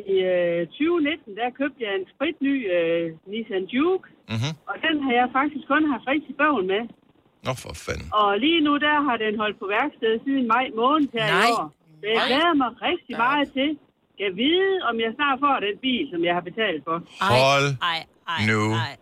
J: i øh, 2019, der købte jeg en spritny øh, Nissan Juke,
A: Mhm.
J: og den har jeg faktisk kun haft rigtig bøvl med.
A: Nå, for fanden.
J: Og lige nu, der har den holdt på værksted siden maj måned her
B: Nej.
J: i år. Så jeg glæder mig rigtig meget til, jeg vide, om jeg snart får den bil, som jeg har betalt for.
A: Hold
D: Ej, ej,
A: nu
D: ej.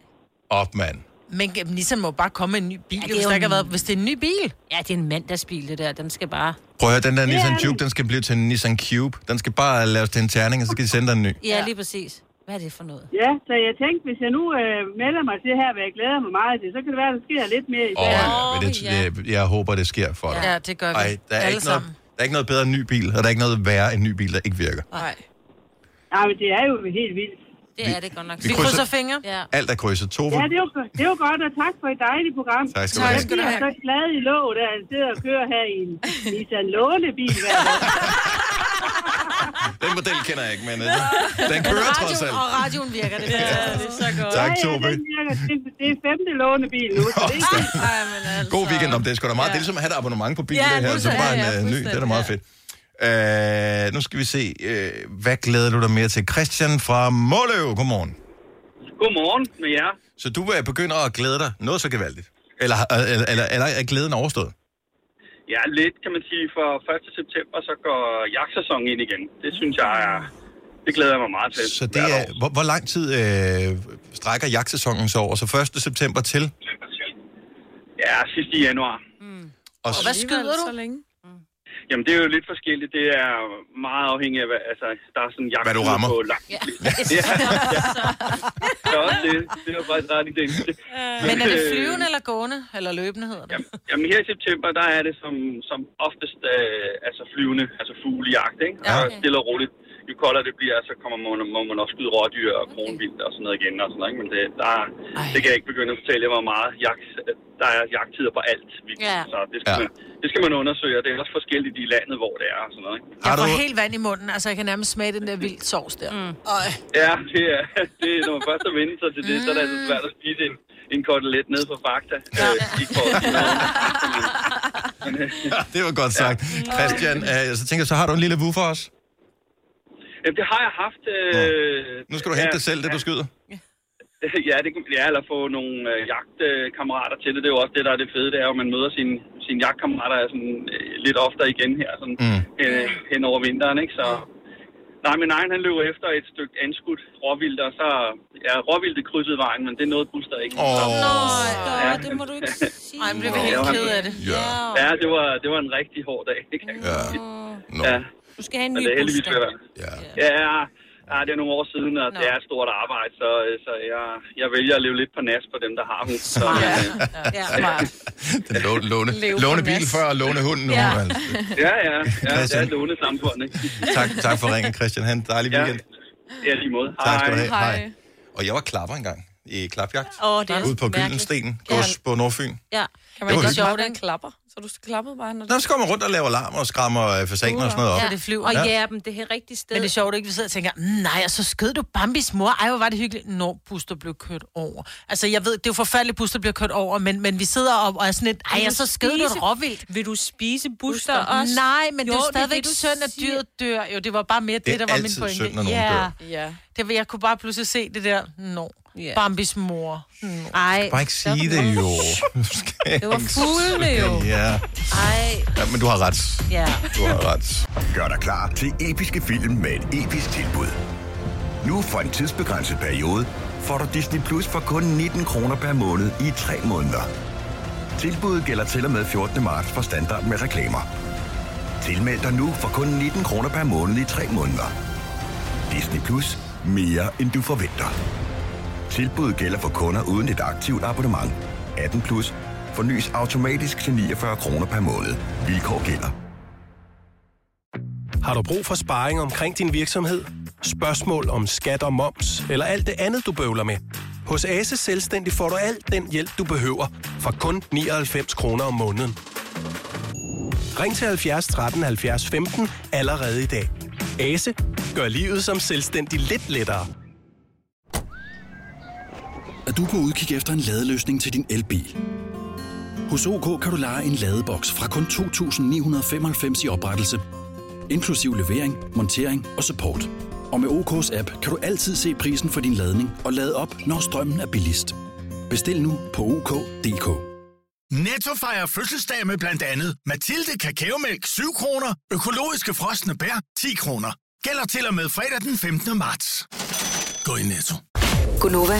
A: op, mand.
B: Men øh, Nissan må bare komme med en ny bil,
D: det
B: ja,
D: er
B: hvis,
D: jo
B: der ikke har
D: en-
B: været, <laughs> hvis det er en ny bil.
D: Ja, det er en mandagsbil, det der. Den skal bare...
A: Prøv at høre, den der Nissan
J: det.
A: Juke, den skal blive til en Nissan Cube. Den skal bare laves til en terning, og så skal de sende dig en ny.
D: Ja, lige præcis. Hvad er det for noget?
J: Ja, så jeg tænkte, hvis jeg nu øh, melder mig til her, hvad jeg glæder mig meget til, så kan det være, at der sker lidt mere i
A: Åh,
J: dag.
A: ja. men det, det, jeg håber, det sker for dig.
B: Ja, det gør vi.
A: Ej, der er,
B: Alle
A: ikke noget,
B: sammen.
A: der er ikke noget bedre end en ny bil, og der er ikke noget værre end en ny bil, der ikke virker.
C: Nej.
J: Nej, men det er jo helt vildt.
D: Det er det godt nok.
A: Vi
B: Vi
A: krydser-
B: krydser fingre.
D: Ja.
A: Alt er krydset. Tove,
J: Ja, det var, det var godt, og tak for et dejligt program.
A: Tak skal du Tak have.
B: skal du
J: Jeg
B: have.
J: er så glad i lå, da han sidder og kører her
B: <laughs>
J: i en Nissan lånebil hver dag.
A: den model kender jeg ikke, men øh, den kører trods
B: Radioen,
A: alt.
B: og radioen virker det. Ja, det er så godt.
A: Tak,
J: Ja,
A: Tove.
J: den virker. Det- Det er femte lånebil nu, så det er fint.
B: Ej, men altså.
A: God weekend om det. er sgu da meget. Ja. Det er ligesom at have et abonnement på bilen,
B: Ja,
A: ja, det her. Så
B: fuldstændig.
A: bare en
B: Ja, ja,
A: ja, ny. Det er da meget fedt. Øh, nu skal vi se. Øh, hvad glæder du dig mere til? Christian fra Måløv. Godmorgen.
I: Godmorgen med jer.
A: Så du øh, begynder at glæde dig noget så gevaldigt? Eller, øh, eller, eller, eller er glæden overstået?
I: Ja, lidt kan man sige. For 1. september, så går jagtsæsonen ind igen. Det synes jeg er... Det glæder jeg mig meget til.
A: Så det er, hvor, hvor lang tid øh, strækker jagtsæsonen så over? Så 1. september <laughs> til?
I: Ja, sidst i januar.
A: Mm. Og,
B: Og hvad skyder du?
C: Så længe.
I: Jamen, det er jo lidt forskelligt. Det er meget afhængigt af, hvad, altså, der er sådan en jagt
A: Hvad du rammer.
I: på langt. Ja. ja. ja. også det, det er faktisk ret i den.
B: Men er det flyvende eller gående? Eller løbende hedder det?
I: Jamen, her i september, der er det som, som oftest øh, altså flyvende, altså fuglejagt, ikke?
B: Ja,
I: Ja,
B: okay.
I: okay. Stille og roligt.
K: jo koldere det bliver, så kommer man, må man også skyde rådyr og kronvildt og sådan noget igen. Og sådan noget, ikke? Men det, der, er- det kan jeg ikke begynde at fortælle jer, hvor meget jagt, der er jagttider på alt. Ja. Så det skal, ja. man, det skal man undersøge, og det er også forskelligt i landet, hvor det er og sådan noget. Ikke?
B: Jeg får helt vand i munden, altså jeg kan nærmest smage den der vildt sovs der. Mm. Øj.
K: Ja, det er, <laughs> det er, når man først har vendt sig til det, så er det altså svært at spise en, en kotelet ned fra Fakta. Ja. Øh, ikke for at sige noget.
A: det var godt sagt. Christian, øh, så tænker jeg, så har du en lille vu for os?
K: Jamen, det har jeg haft. Øh,
A: Nu skal du hente
K: ja,
A: det selv, det du skyder.
K: <laughs> Ja, det, kan- ja, eller få nogle øh, jagtkammerater til det. Det er jo også det, der er det fede, det er, at man møder sine sin jagtkammerater sådan, øh, lidt oftere igen her, sådan, mm. øh, hen over vinteren, ikke? Så, nej, min egen, han løb efter et stykke anskudt råvildt, og så ja, råvildt krydsede vejen, men det nåede Buster ikke.
A: Åh,
K: oh.
B: ja. det må du ikke sige. Ej, men blev vi helt ked af det.
A: Ja.
K: ja <laughs> det, var, det var en rigtig hård dag, det kan jeg ja. sige.
A: No.
K: Ja.
D: Du skal have en
K: Men
D: ny
K: det er heldigvis
D: booster.
K: ved at være. Ja. ja. Ja, det er nogle år siden, og det er et stort arbejde, så, øh, så jeg, jeg vælger at leve lidt på nas på dem, der har hund. Så, øh. ja.
A: Den lå- låne,
K: Leve
A: låne
K: på
A: bil
K: nas.
A: før og låne hunden nu.
K: Ja. ja,
A: Ja.
K: ja, ja, det er
A: Christian.
K: et lånet samfund, ikke?
A: Tak, tak for ringen, Christian. Han en dejlig weekend.
K: Ja, lige måde.
A: Tak skal du have. Hej. Hej. Og jeg var klapper engang i klapjagt.
D: Åh, det er
A: Ude på
D: mærkeligt.
A: Gyldensten,
D: Ja.
A: gods på Nordfyn.
D: Ja.
A: Det
C: Kan
A: var
C: man ikke også
A: hyggeligt.
C: bare være en klapper? Så du klappede bare, når du...
A: Nå, så går man rundt og laver larm og skræmmer øh, fasaner og sådan noget op.
C: Ja, det flyver.
D: Og
A: Ja.
D: ja. jæben, det her rigtige sted.
B: Men det er sjovt, ikke? Vi sidder og tænker, "Mm, nej, og så skød du Bambis mor. Ej, hvor var det hyggeligt, når Buster blev kørt over. Altså, jeg ved, det er jo forfærdeligt, at Buster bliver kørt over, men, men vi sidder og, og er sådan lidt, ej, og så skød du et råvildt.
D: Vil du spise buster også?
B: Nej, men jo,
D: Jo,
B: det er jo
D: det
B: stadigvæk
D: vil du
B: synd, at
D: sige.
B: dyret dør. Jo, det var bare mere det,
A: Det er
B: der var min
A: altid
B: pointe.
A: synd, når nogen
B: ja.
A: dør.
C: Ja.
B: Det, var- jeg kunne bare pludselig se det der, nå,
D: Ja.
B: Bambis mor. Nå.
D: Ej,
A: Bare ikke sige det, jo.
D: Det
A: <laughs>
D: var fuglene jo.
A: Ja.
D: Ej,
A: ja, men du har ret.
D: ja.
A: Du har ret.
L: Gør dig klar til episke film med et episk tilbud. Nu for en tidsbegrænset periode får du Disney Plus for kun 19 kroner per måned i 3 måneder. Tilbuddet gælder til og med 14. marts for standard med reklamer. Tilmeld dig nu for kun 19 kroner per måned i 3 måneder. Disney Plus. Mere end du forventer. Tilbuddet gælder for kunder uden et aktivt abonnement. 18 plus. Fornyes automatisk til 49 kroner per måned. Vilkår gælder.
M: Har du brug for sparring omkring din virksomhed? Spørgsmål om skat og moms, eller alt det andet, du bøvler med? Hos Ase Selvstændig får du alt den hjælp, du behøver, for kun 99 kroner om måneden. Ring til 70 13 70 15 allerede i dag. Ase gør livet som selvstændig lidt lettere.
G: Er du på udkig efter en ladeløsning til din elbil? Hos OK kan du lege en ladeboks fra kun 2.995 i oprettelse, inklusiv levering, montering og support. Og med OK's app kan du altid se prisen for din ladning og lade op, når strømmen er billigst. Bestil nu på OK.dk.
N: Netto fejrer fødselsdag med blandt andet Mathilde Kakaomælk 7 kroner, økologiske frosne bær 10 kroner. Gælder til og med fredag den 15. marts. Gå i Netto.
F: Gunova,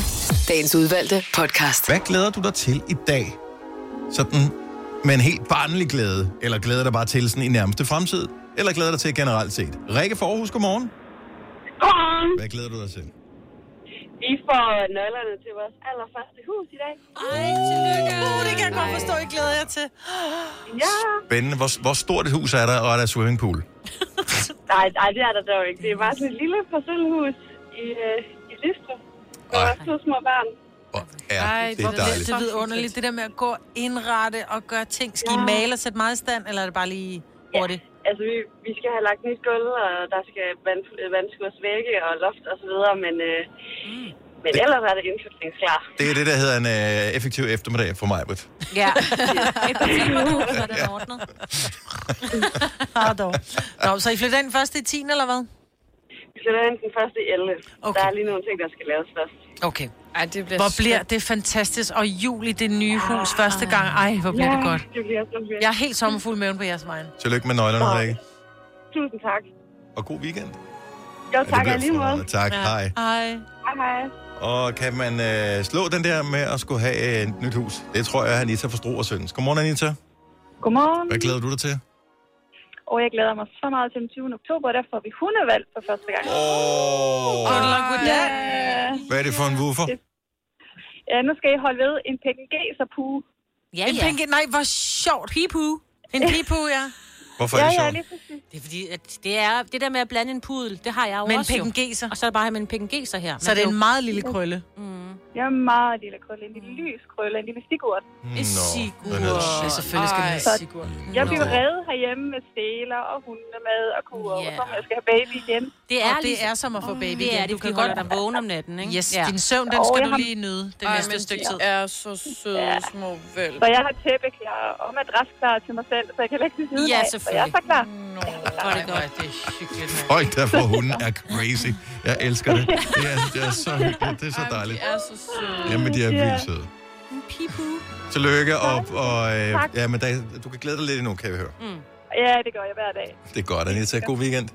F: dagens udvalgte podcast.
A: Hvad glæder du dig til i dag? Sådan med en helt barnlig glæde, eller glæder dig bare til sådan i nærmeste fremtid, eller glæder dig til generelt set? Rikke for Aarhus, godmorgen.
O: Godmorgen.
A: Hvad glæder du dig til?
O: Vi får nøglerne til vores allerførste hus i dag. Ej, tillykke.
B: Uh, det kan jeg godt forstå, I glæder jer til.
O: <gasps> Ja.
A: Spændende. Hvor, hvor stort et hus er der, og er der swimmingpool?
O: Nej, nej, det er der dog ikke. Det er bare sådan et lille parcelhus i, øh, i Listrup. Med vores to små børn.
A: Ja,
B: Ej,
A: det er dejligt.
B: Det er vidunderligt, det der med at gå indrette og gøre ting. Skal I male og sætte meget i stand, eller er det bare lige <laughs> hurtigt?
O: Altså, vi, vi skal have lagt nyt gulv, og der skal vand, øh, vandskurs vægge og loft og så videre, men, øh, men ellers er det indflytningsklar.
A: Det er det, der hedder en øh, effektiv eftermiddag for mig, Britt.
O: Ja.
B: Et parcelhus, når det er ordnet. Ah, dog. <laughs> Nå, så I flytter ind først i 10, eller hvad?
O: <laughs> Vi flytter ind den første i 11. Okay. Der er lige nogle ting, der skal laves først.
B: Okay.
C: Ej, det bliver
B: Hvor bliver det fantastisk. Og jul i det nye hus første gang. Ej, hvor bliver
O: ja,
B: det godt.
O: det bliver så fedt.
B: Jeg er helt sommerfuld i maven på jeres vejen.
A: Tillykke med nøglerne,
O: Nå.
A: Rikke.
O: Tusind tak.
A: Og god weekend.
O: Jo,
A: det
O: tak
A: bliver
O: alligevel.
A: fremragende. Tak, Ja. hej.
B: Hej.
O: Hej.
A: Og kan man øh, slå den der med at skulle have øh, et nyt hus? Det tror jeg, Anita forstår og synes. Godmorgen, Anita.
O: Godmorgen.
A: Hvad glæder du dig til?
O: Og jeg glæder mig så meget til den 20. oktober, der får vi hundevalg for første gang.
A: Åh,
O: Good
B: luck with
O: that.
A: Hvad er det for en woofer?
O: Ja, nu skal I holde ved en PNG, så puge.
B: en pinke, nej, hvor sjovt. Pipu. En pipu, ja.
A: Hvorfor er det sjovt?
D: Det er fordi, at det, er, det der med at blande en pudel, det har jeg jo
B: Med en
D: også. jo.
B: pekingeser.
D: Og så er det bare med en pekingeser her.
B: Så det er en meget lille krølle.
D: Mm.
P: Jeg er meget lille krølle. En lille lys krølle. En lille sigurd.
A: Nå,
B: sigur.
A: den hedder
B: Ja,
A: sigur.
B: selvfølgelig skal den
P: Så
B: hedde Sigurd.
P: Jeg
A: Nå.
P: blev reddet herhjemme med stæler og hundemad og kurer, yeah. og så om jeg skal have baby igen.
D: Det er,
B: Og det er som at få baby
D: det
B: igen.
D: Er, det,
B: Du
D: du
B: kan
D: kan
B: holde
D: godt
B: dig
D: dig vågen om natten, ikke?
B: Yes, din søvn, den
P: Og
B: skal
P: jeg
B: du
P: har-
B: lige nyde det
C: Ej,
B: næste
C: men
B: stykke
C: de
B: tid.
C: er så søde
P: Ja.
C: små vel.
P: Så jeg har tæppe klar og madras klar til mig selv, så jeg kan lægge det siden
C: Ja,
P: af. Så jeg er så klar.
C: Nå,
D: hvor er det godt.
B: Det er hyggeligt.
A: Folk, der får hunden, er crazy. Jeg elsker det. Det er, det er så hyggeligt. Det er så dejligt.
C: De er så søde.
A: Jamen, de er vildt søde.
B: Mm.
D: En pipu.
A: Tillykke, og, og øh,
P: Tak.
A: ja, men der, du kan glæde dig lidt endnu, kan vi høre.
P: Mm. Ja, det gør jeg hver dag.
A: Det er godt, Anita. God weekend.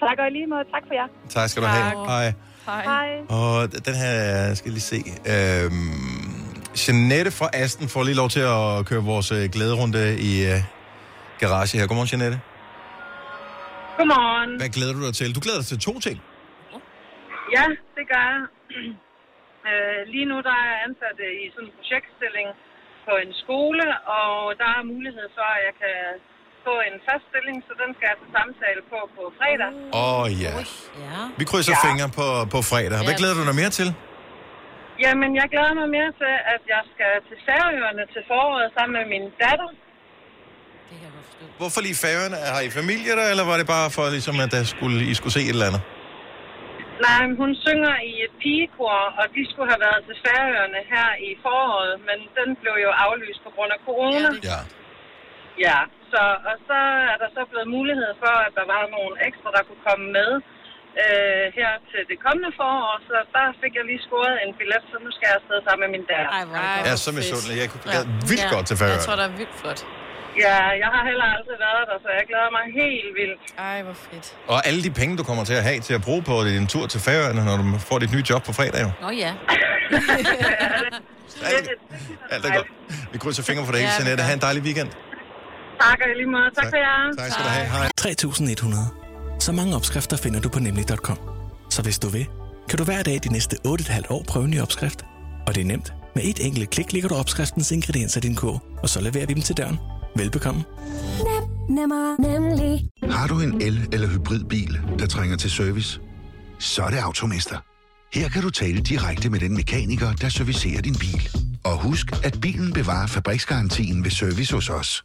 P: Tak og i lige måde. Tak for jer.
A: Tak skal du have. Hej.
P: Hej. Hej.
A: Og den her skal jeg lige se. Øhm, Jeanette fra Asten får lige lov til at køre vores øh, glæderunde i øh, garage her. Godmorgen, Jeanette.
O: Godmorgen.
A: Hvad glæder du dig til? Du glæder dig til to ting.
O: Ja, det gør jeg. <clears throat> Øh, Lige nu der er jeg ansat øh, i sådan en projektstilling på en skole, og der er mulighed for, at jeg kan få en fast stilling, så den skal jeg til samtale på på fredag.
B: Mm.
A: Åh oh, ja.
D: Ja.
A: Vi krydser ja. fingre på, på fredag. Hvad
O: Ja.
A: glæder du dig mere til?
O: Jamen, jeg glæder mig mere til, at jeg skal til Færøerne til foråret sammen med min datter.
A: Hvorfor lige færgerne? Har I familie der, eller var det bare for, ligesom, at der skulle, I skulle se et eller andet?
O: Nej, men hun synger i et pigekor, og de skulle have været til Færøerne her i foråret, men den blev jo aflyst på grund af corona.
A: Ja.
O: Ja, så, og så er der så blevet mulighed for, at der var nogle ekstra, der kunne komme med øh, her til det kommende forår, så der fik jeg lige scoret en billet, så nu skal jeg afsted sammen med min datter. Ej,
D: hvor er
A: Jeg er så misundelig. Jeg kunne jeg er vildt godt til Færøerne.
O: der er vildt flot. Ja, jeg har heller aldrig været der, så jeg glæder mig helt vildt. Ej, hvor fedt.
A: Og alle de penge, du kommer til at have til at bruge på din tur til Færøerne, når du får dit nye job på fredag, jo.
O: <laughs>
D: Nå ja.
A: Alt er godt. Vi krydser fingre for det hele,
O: Ja, det
A: Jeanette. Ha' en dejlig weekend.
O: Tak og i lige måde. Tak,
A: Tak.
O: for jer.
A: Tak skal du have. Hej.
Q: 3.100. Så mange opskrifter finder du på nemlig.com. Så hvis du vil, kan du hver dag de næste 8,5 år prøve en ny opskrift. Og det er nemt. Med et enkelt klik ligger du opskriftens ingredienser i din kog, og så leverer vi dem til døren. Velbekomme.
R: Nemmer, nemlig.
S: Har du en el- eller hybridbil, der trænger til service? Så er det Automester. Her kan du tale direkte med den mekaniker, der servicerer din bil. Og husk, at bilen bevarer fabriksgarantien ved service hos os.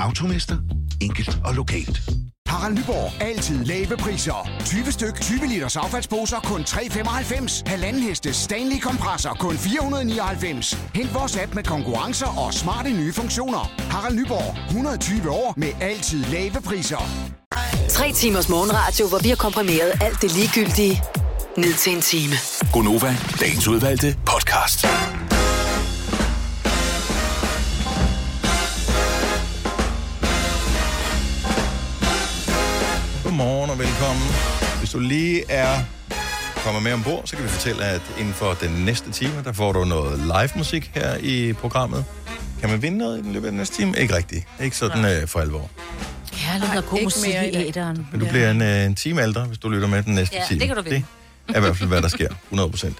S: Automester. Enkelt og lokalt.
T: Harald Nyborg. Altid lave priser. 20 styk, 20 liters affaldsposer kun 3,95. Halvanden heste Stanley kompresser kun 499. Hent vores app med konkurrencer og smarte nye funktioner. Harald Nyborg. 120 år med altid lave priser.
F: Tre timers morgenradio, hvor vi har komprimeret alt det ligegyldige ned til en time.
G: Gonova, dagens udvalgte podcast.
A: Godmorgen og velkommen. Hvis du lige er kommer med ombord, så kan vi fortælle, at inden for den næste time, der får du noget live musik her i programmet. Kan man vinde noget i den løbet af den næste time? Ikke rigtigt. Ikke sådan øh, for alvor.
D: Kærlighed og god
C: ikke
D: musik
C: mere i dag.
D: i æderen.
A: Men du bliver en, øh, en time ældre, hvis du lytter med den næste
D: Ja,
A: time.
D: det kan du vinde.
A: Det er i hvert fald, hvad der sker. 100 procent.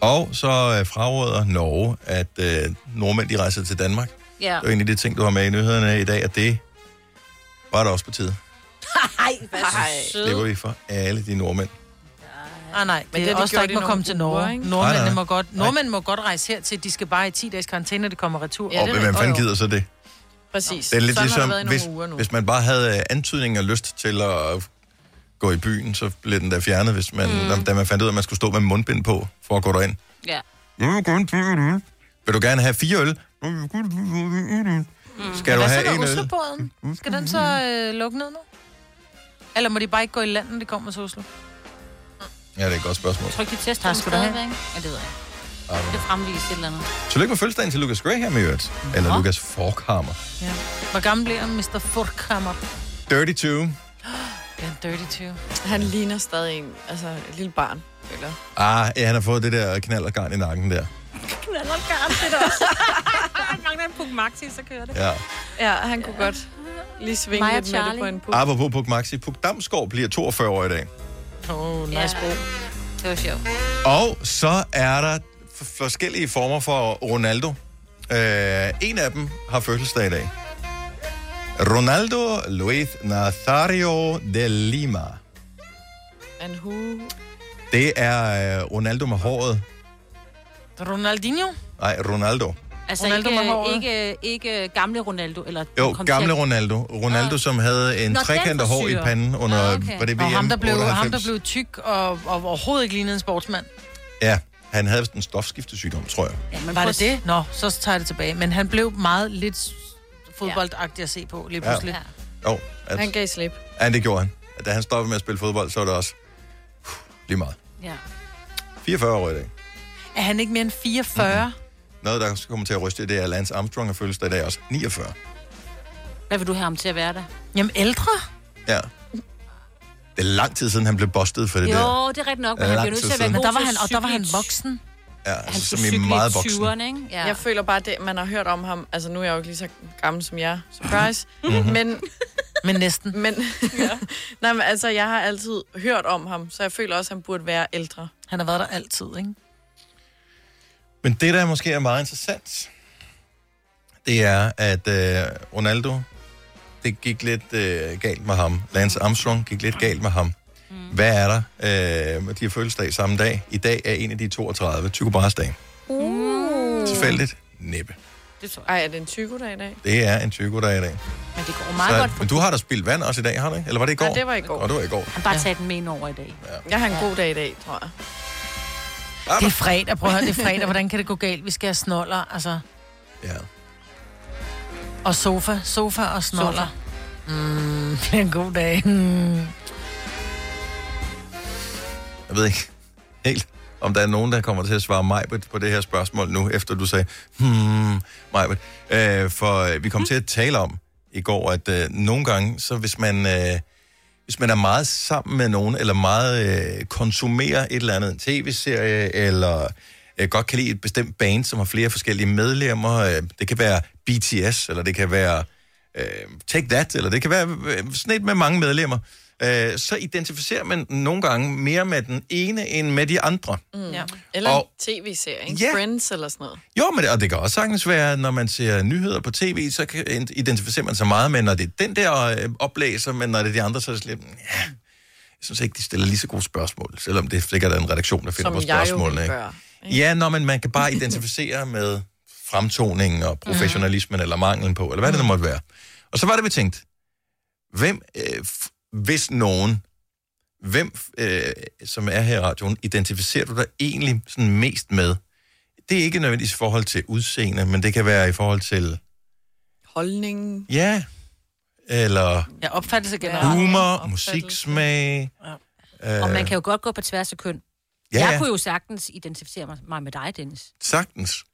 A: Og så øh, fraråder Norge, at øh, nordmænd de rejser til Danmark.
D: Ja.
A: Det er en af de ting, du har med i nyhederne i dag, at det var der også på tide.
D: Ej, hvad så
A: Slipper
D: sød.
A: vi for alle de nordmænd.
B: Ah, nej,
C: Men
B: men det
C: det har
B: er
C: de
B: også der
C: gjort
B: ikke
C: i
B: må
C: nogle
B: komme til
C: uger,
B: Norge.
C: ikke?
A: Nej, nej.
B: Nordmændene må godt, nordmænd må godt rejse hertil. De skal bare i 10 dages karantæne, det kommer retur.
A: Ja, og hvem fanden gider så det?
C: Præcis.
A: Det er lidt
C: Sådan har
A: ligesom,
C: været i nogle
A: hvis,
C: uger nu.
A: hvis man bare havde øh, antydning og lyst til at gå i byen, så blev den der fjernet, hvis man, mm. da man fandt ud af, at man skulle stå med mundbind på, for at gå derind.
D: Ja.
A: Jeg vil gerne drikke en øl. Vil du gerne have fire øl? Skal du
B: Hvad
A: have
B: så
A: en
B: med
A: øl? Mm.
B: Oslobåden? Skal den så øh, lukke ned nu? Eller må de bare ikke gå i land, når de kommer til Oslo?
A: Ja, det er et godt spørgsmål.
D: Tryk dit test, tak skal du have. Ja, det ved jeg.
A: Ej,
D: Det fremvises et eller andet.
A: Tillykke med fødselsdagen til Lucas Graham i øvrigt. Eller Lucas Forkhammer.
B: Ja. Hvor gammel bliver han, Mr.
A: Øh,
B: Fortkammer?
A: Dirty 2.
B: Bliver han dirty 20?
C: Han ligner stadig en, altså et lille barn, føler jeg.
A: Ah, ja, han har fået det der knaldergarn i nakken der.
B: <laughs> Knaller garn, det der også. <laughs> Han mangler en puk maxi, så kører det.
A: Ja.
C: Ja, han kunne godt lige svinge
B: Mig og
C: lidt med det
B: Charlie.
C: på en puk.
A: Apropos Puk Maxi. Puk Damsgaard bliver 42 år i dag.
B: Åh, oh, nice
D: Ja.
B: bro.
D: Det var sjovt.
A: Og så er der f- forskellige former for Ronaldo. Øh, en af dem har fødselsdag i dag. Ronaldo Luis Nazario de Lima.
C: And who?
A: Det er øh, Ronaldo med håret.
B: Ronaldinho?
A: Nej, Ronaldo.
E: Altså
B: Ronaldo
E: Ronaldo
B: med håret.
E: ikke, ikke, ikke gamle Ronaldo, eller...
A: Jo,
E: kom til
A: gamle
E: at-
A: Ronaldo.
B: Ah.
A: Ronaldo, som havde en
E: Nå, den
A: trekantet hår i
E: frisyre.
A: panden under,
E: Nå,
A: okay. var det VM
B: og ham, der blev, ham,
A: 98?
B: der blev tyk og, og overhovedet ikke lignede en sportsmand.
A: Ja, han havde vist en stofskiftesygdom, tror jeg.
B: Ja, men var det det? Nå, så tager jeg det tilbage. Men han blev meget lidt s- fodboldagtig at se på lige
A: Ja.
B: pludselig. Ja.
A: Jo, at,
C: Han gav slip.
A: ja, det gjorde han. At da han stoppede med at spille fodbold, så var det også puh, lige meget.
B: Ja.
A: 44 år i dag.
B: Er han ikke mere end 44? Mm-hmm.
A: Noget, der kommer til at ryste, det er at Lance Armstrong har fødselsdag i dag også. 49.
E: Hvad vil du have ham til at være der?
B: Jamen ældre?
A: Ja. Det er lang tid siden, han blev bustet for det
E: jo,
A: der.
E: det er rigtigt nok,
A: Ja,
E: men han
A: lang
E: bliver nødt
A: tid
E: til at være
A: siden.
E: god
B: Men der var
E: til
B: han- og der var
E: cykle
B: han
E: i-
B: voksen.
A: Ja,
E: Han
A: altså,
E: skulle
A: som i
E: cykle i
A: meget voksen.
E: 20'erne, ikke? Ja.
C: Jeg føler bare, at man har hørt om ham. Altså, nu er jeg jo ikke lige så gammel som jeg. Surprise.
A: Mhm.
C: Men...
B: Men næsten.
C: Men, ja. <laughs> Nej, men altså, jeg har altid hørt om ham, så jeg føler også, at han burde være ældre.
B: Han har været der altid, ikke?
A: Men det, der måske er meget interessant, det er, at øh, Ronaldo, det gik lidt øh, galt med ham. Lance Armstrong gik lidt galt med ham. Mm. Hvad er der? Øh, de har fødselsdag samme dag. I dag er en af de 32, Tycho Brahes dag.
E: Mm.
C: Uh.
A: Tilfældigt? Næppe.
C: Ej, er det en tykodag i dag?
A: Det er en Tycho, der er i dag.
E: Men det går
A: Så-
E: meget godt.
A: men du har da spildt vand også i dag, har du ikke? Eller var det i går?
C: Nej, det var i går.
A: Og det var i går.
E: Han bare tager den med ind over i dag. Ja.
C: Jeg har en god dag i dag, tror jeg.
B: Det er fredag, prøv at høre, det er fredag. Hvordan kan det gå galt? Vi skal have snoller, altså.
A: Ja.
B: Og sofa, sofa og snoller. Mm, <laughs> det er en god dag. Mm.
A: Jeg ved ikke helt, om der er nogen, der kommer til at svare Majbet på det her spørgsmål nu, efter du sagde, hmm, Majbet. Øh, for øh, vi
C: Hmm.
A: kom til at tale om i går, at øh, nogle gange, så hvis man, øh, hvis man er meget sammen med nogen, eller meget øh, konsumerer et eller andet, en tv-serie, eller øh, godt kan lide et bestemt band, som har flere forskellige medlemmer, øh, det kan være BTS, eller det kan være øh, Take That, eller det kan være øh, sådan et med mange medlemmer, øh, så identificerer man nogle gange mere med den ene end med de andre.
C: Mm. Ja. Eller
A: Og-
C: og... en tv-serie, ikke?
A: Ja.
C: Friends eller sådan noget.
A: Jo, men det, og det kan også sagtens være, at når man ser nyheder på tv, så kan, identificerer man sig meget med, når det er den der øh, oplæser, men når det er de andre, så er det sådan lidt, ja, jeg synes ikke, de stiller lige så gode spørgsmål, selvom det sikkert er en redaktion, der finder
C: Som
A: på
C: jeg jo
A: spørgsmålene.
C: ville
A: ikke?
C: gøre,
A: Ja, når man, man kan bare identificere med fremtoningen og professionalismen eller manglen på, eller hvad det nu måtte være. Og så var det, vi tænkte, hvem, øh, f- hvis nogen, hvem, øh, som er her i radioen, identificerer du dig egentlig sådan mest med? Det er ikke nødvendigvis i forhold til udseende, men det kan være i forhold til,
C: Holdningen.
A: ja, eller
B: Ja, opfattelse generelt.
A: humor, musiksmag.
E: Og man
A: Øh,
E: kan jo godt gå på tværs af køn.
A: Ja,
E: Ja, jeg
A: ja.
E: kunne jo sagtens identificere mig- mig med dig, Dennis.
A: sagtens.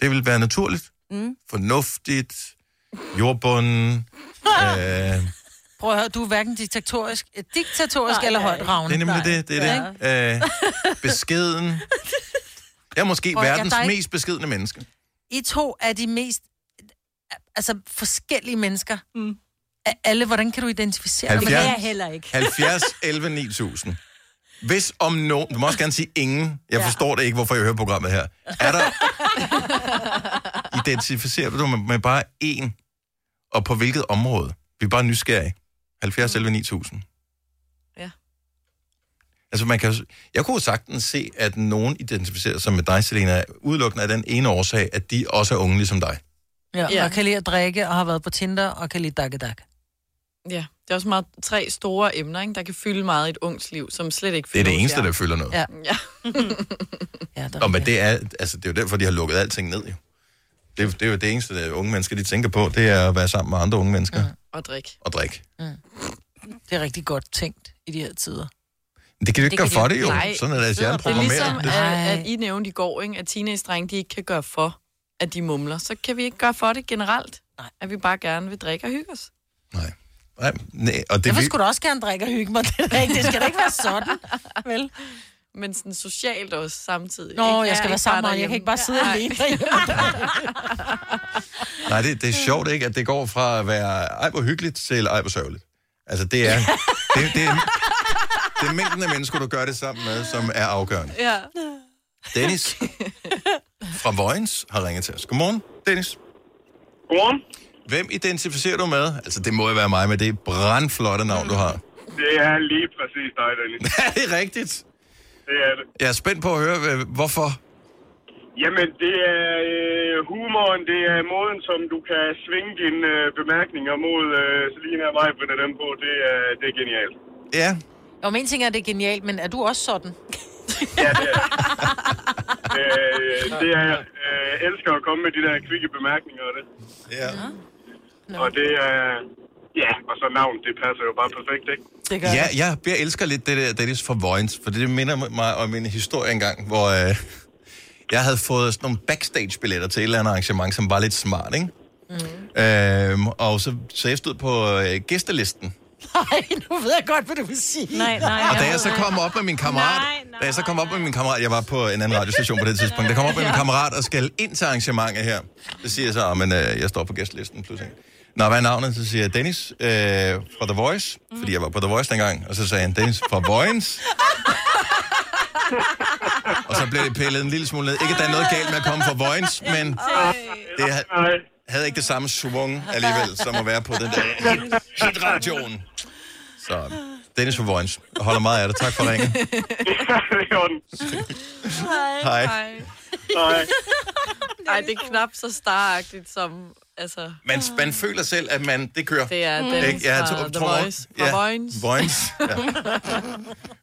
A: Det vil være naturligt,
E: Mm.
A: fornuftigt,
B: <laughs>
A: jordbunden, øh,
B: Prøv at høre, du er hverken diktatorisk, eh, diktatorisk
E: Nej,
B: eller
E: nej.
B: højt ravne.
A: Det er nemlig det, det er det. Øh, beskeden. Jeg er måske
B: Prøv,
A: Prøv,
B: jeg-
A: verdens
B: der er
A: jeg,
B: ikke-
A: mest beskedende menneske.
B: I to er de mest altså forskellige mennesker. Mm. Af alle, hvordan kan du identificere dig?
A: 70.
B: Men det er jeg heller ikke.
A: 70, 11, 9000. Hvis om nogen, du må også gerne sige ingen, jeg
B: Ja.
A: ja. forstår det ikke, hvorfor jeg hører programmet her. Er der, identificerer du dig med, med bare én, og på hvilket område? Vi er bare nysgerrige. 70, 11, 9000.
C: Ja.
A: Altså man kan, jo- jeg kunne jo sagtens se, at nogen identificerer sig med dig, Selena, udelukkende af den ene årsag, at de også er unge ligesom dig.
B: <laughs> Ja,
C: Ja.
B: og kan lide at drikke, og har været på Tinder, og kan lide dakke dakke.
C: Ja, det er også meget tre store emner, ikke? der kan fylde meget i et ungs liv, som slet ikke
A: Det er
C: fylder hos
A: det eneste,
C: jer.
A: der fylder noget.
B: Ja.
C: ja. <laughs>
E: <laughs>
A: Og men det er, altså, det er jo derfor, de har lukket alting ned, jo. Det, er- det er jo det eneste, der unge mennesker de tænker på, det er at være sammen med andre unge mennesker mm.
C: Og drik.
A: og drikke.
B: Det er rigtig godt tænkt i de her tider.
A: Men Det kan du ikke gøre for det, altså, jo.
C: Nej.
A: Sådan er deres hjerne
C: Det er ligesom,
A: programmeret.
C: at, at I nævnte i går, ikke? at teenage-drenge, de ikke kan gøre for, at de mumler. Så kan vi ikke gøre for det generelt, Nej. at vi bare gerne vil drikke og hygge os.
A: Nej, nej, og det,
B: Derfor
A: vi,
B: skulle du også gerne drikke og hygge mig. <laughs> Det, er da ikke, det skal da ikke være sådan, vel?
C: Men sådan socialt også samtidig.
B: Nå,
C: ikke?
B: jeg skal
C: Ja,
B: være sammen med
C: bare
B: jer. Jeg kan
C: derhjemme.
B: ikke bare sidde
C: Nej.
B: alene
C: <laughs>
B: derhjemme.
A: nej det, det er sjovt, ikke? At det går fra at være ej, hvor hyggeligt til ej, hvor sørgeligt. Altså, det <laughs> er, det, det, er, det er mængden af mennesker, du gør det sammen med, som er afgørende.
C: Ja.
A: Dennis fra Vojens har ringet til os. Godmorgen, Dennis.
H: Godmorgen.
A: Hvem identificerer du med? Altså, det må jo være mig med det brandflotte navn, du har.
H: Det er lige præcis dig,
A: <laughs>
H: Dennis.
A: er det rigtigt?
H: Det er det.
A: Jeg er spændt på at høre, øh, hvorfor.
H: Jamen, det er øh, humoren, det er måden, som du kan svinge dine øh, bemærkninger mod øh, Selina og mig, Britta, dem på. Det er, det er genialt.
A: Ja.
B: Og en ting er, at det er genialt, men er du også sådan?
H: Øh, <laughs> det er, øh, jeg elsker at komme med de der kvikke bemærkninger og det.
A: Ja.
H: Og det er... Ja, og så navn, det passer jo bare perfekt, ikke?
B: Det
A: Ja, jeg, jeg elsker lidt det der Dennis for Vojens, for det minder mig om en historie engang, hvor øh, jeg havde fået sådan nogle backstage-billetter til et eller andet arrangement, som var lidt smart, ikke? <laughs> Mm. Øhm, og så, så jeg stod på øh, gæstelisten,
B: Nej, nu ved jeg godt, hvad du vil sige. Nej, nej.
A: Og da jeg så kom op med min kammerat, da jeg så kom op med min kammerat, jeg var på en anden radiostation på det tidspunkt, der kom op med min
B: Ja.
A: kammerat og skal ind til arrangementet her. Så siger jeg så, men øh, jeg står på gæstlisten pludselig. Nå, hvad er navnet? Så siger jeg Dennis øh, fra The Voice, fordi jeg var på The Voice dengang. Og så sagde han, Dennis fra Vojens. og så blev det pillet en lille smule ned. Ikke, at der er noget galt med at komme fra Vojens, men det ha- havde ikke det samme svung alligevel, som at være på den der hit, hitradioen. Så Dennis fra Vojens. Jeg holder meget af dig. Tak for ringen. Hej.
H: Hej.
C: <laughs> Nej, det er knap så staragtigt som... Altså,
A: Man, man føler selv, at man, det kører.
C: Det er Dennis
A: Ikke? Jeg
C: fra
A: tror-
C: The
A: tror-
C: Voice. Fra Vojens.
A: Vojens,
C: <laughs>
A: ja.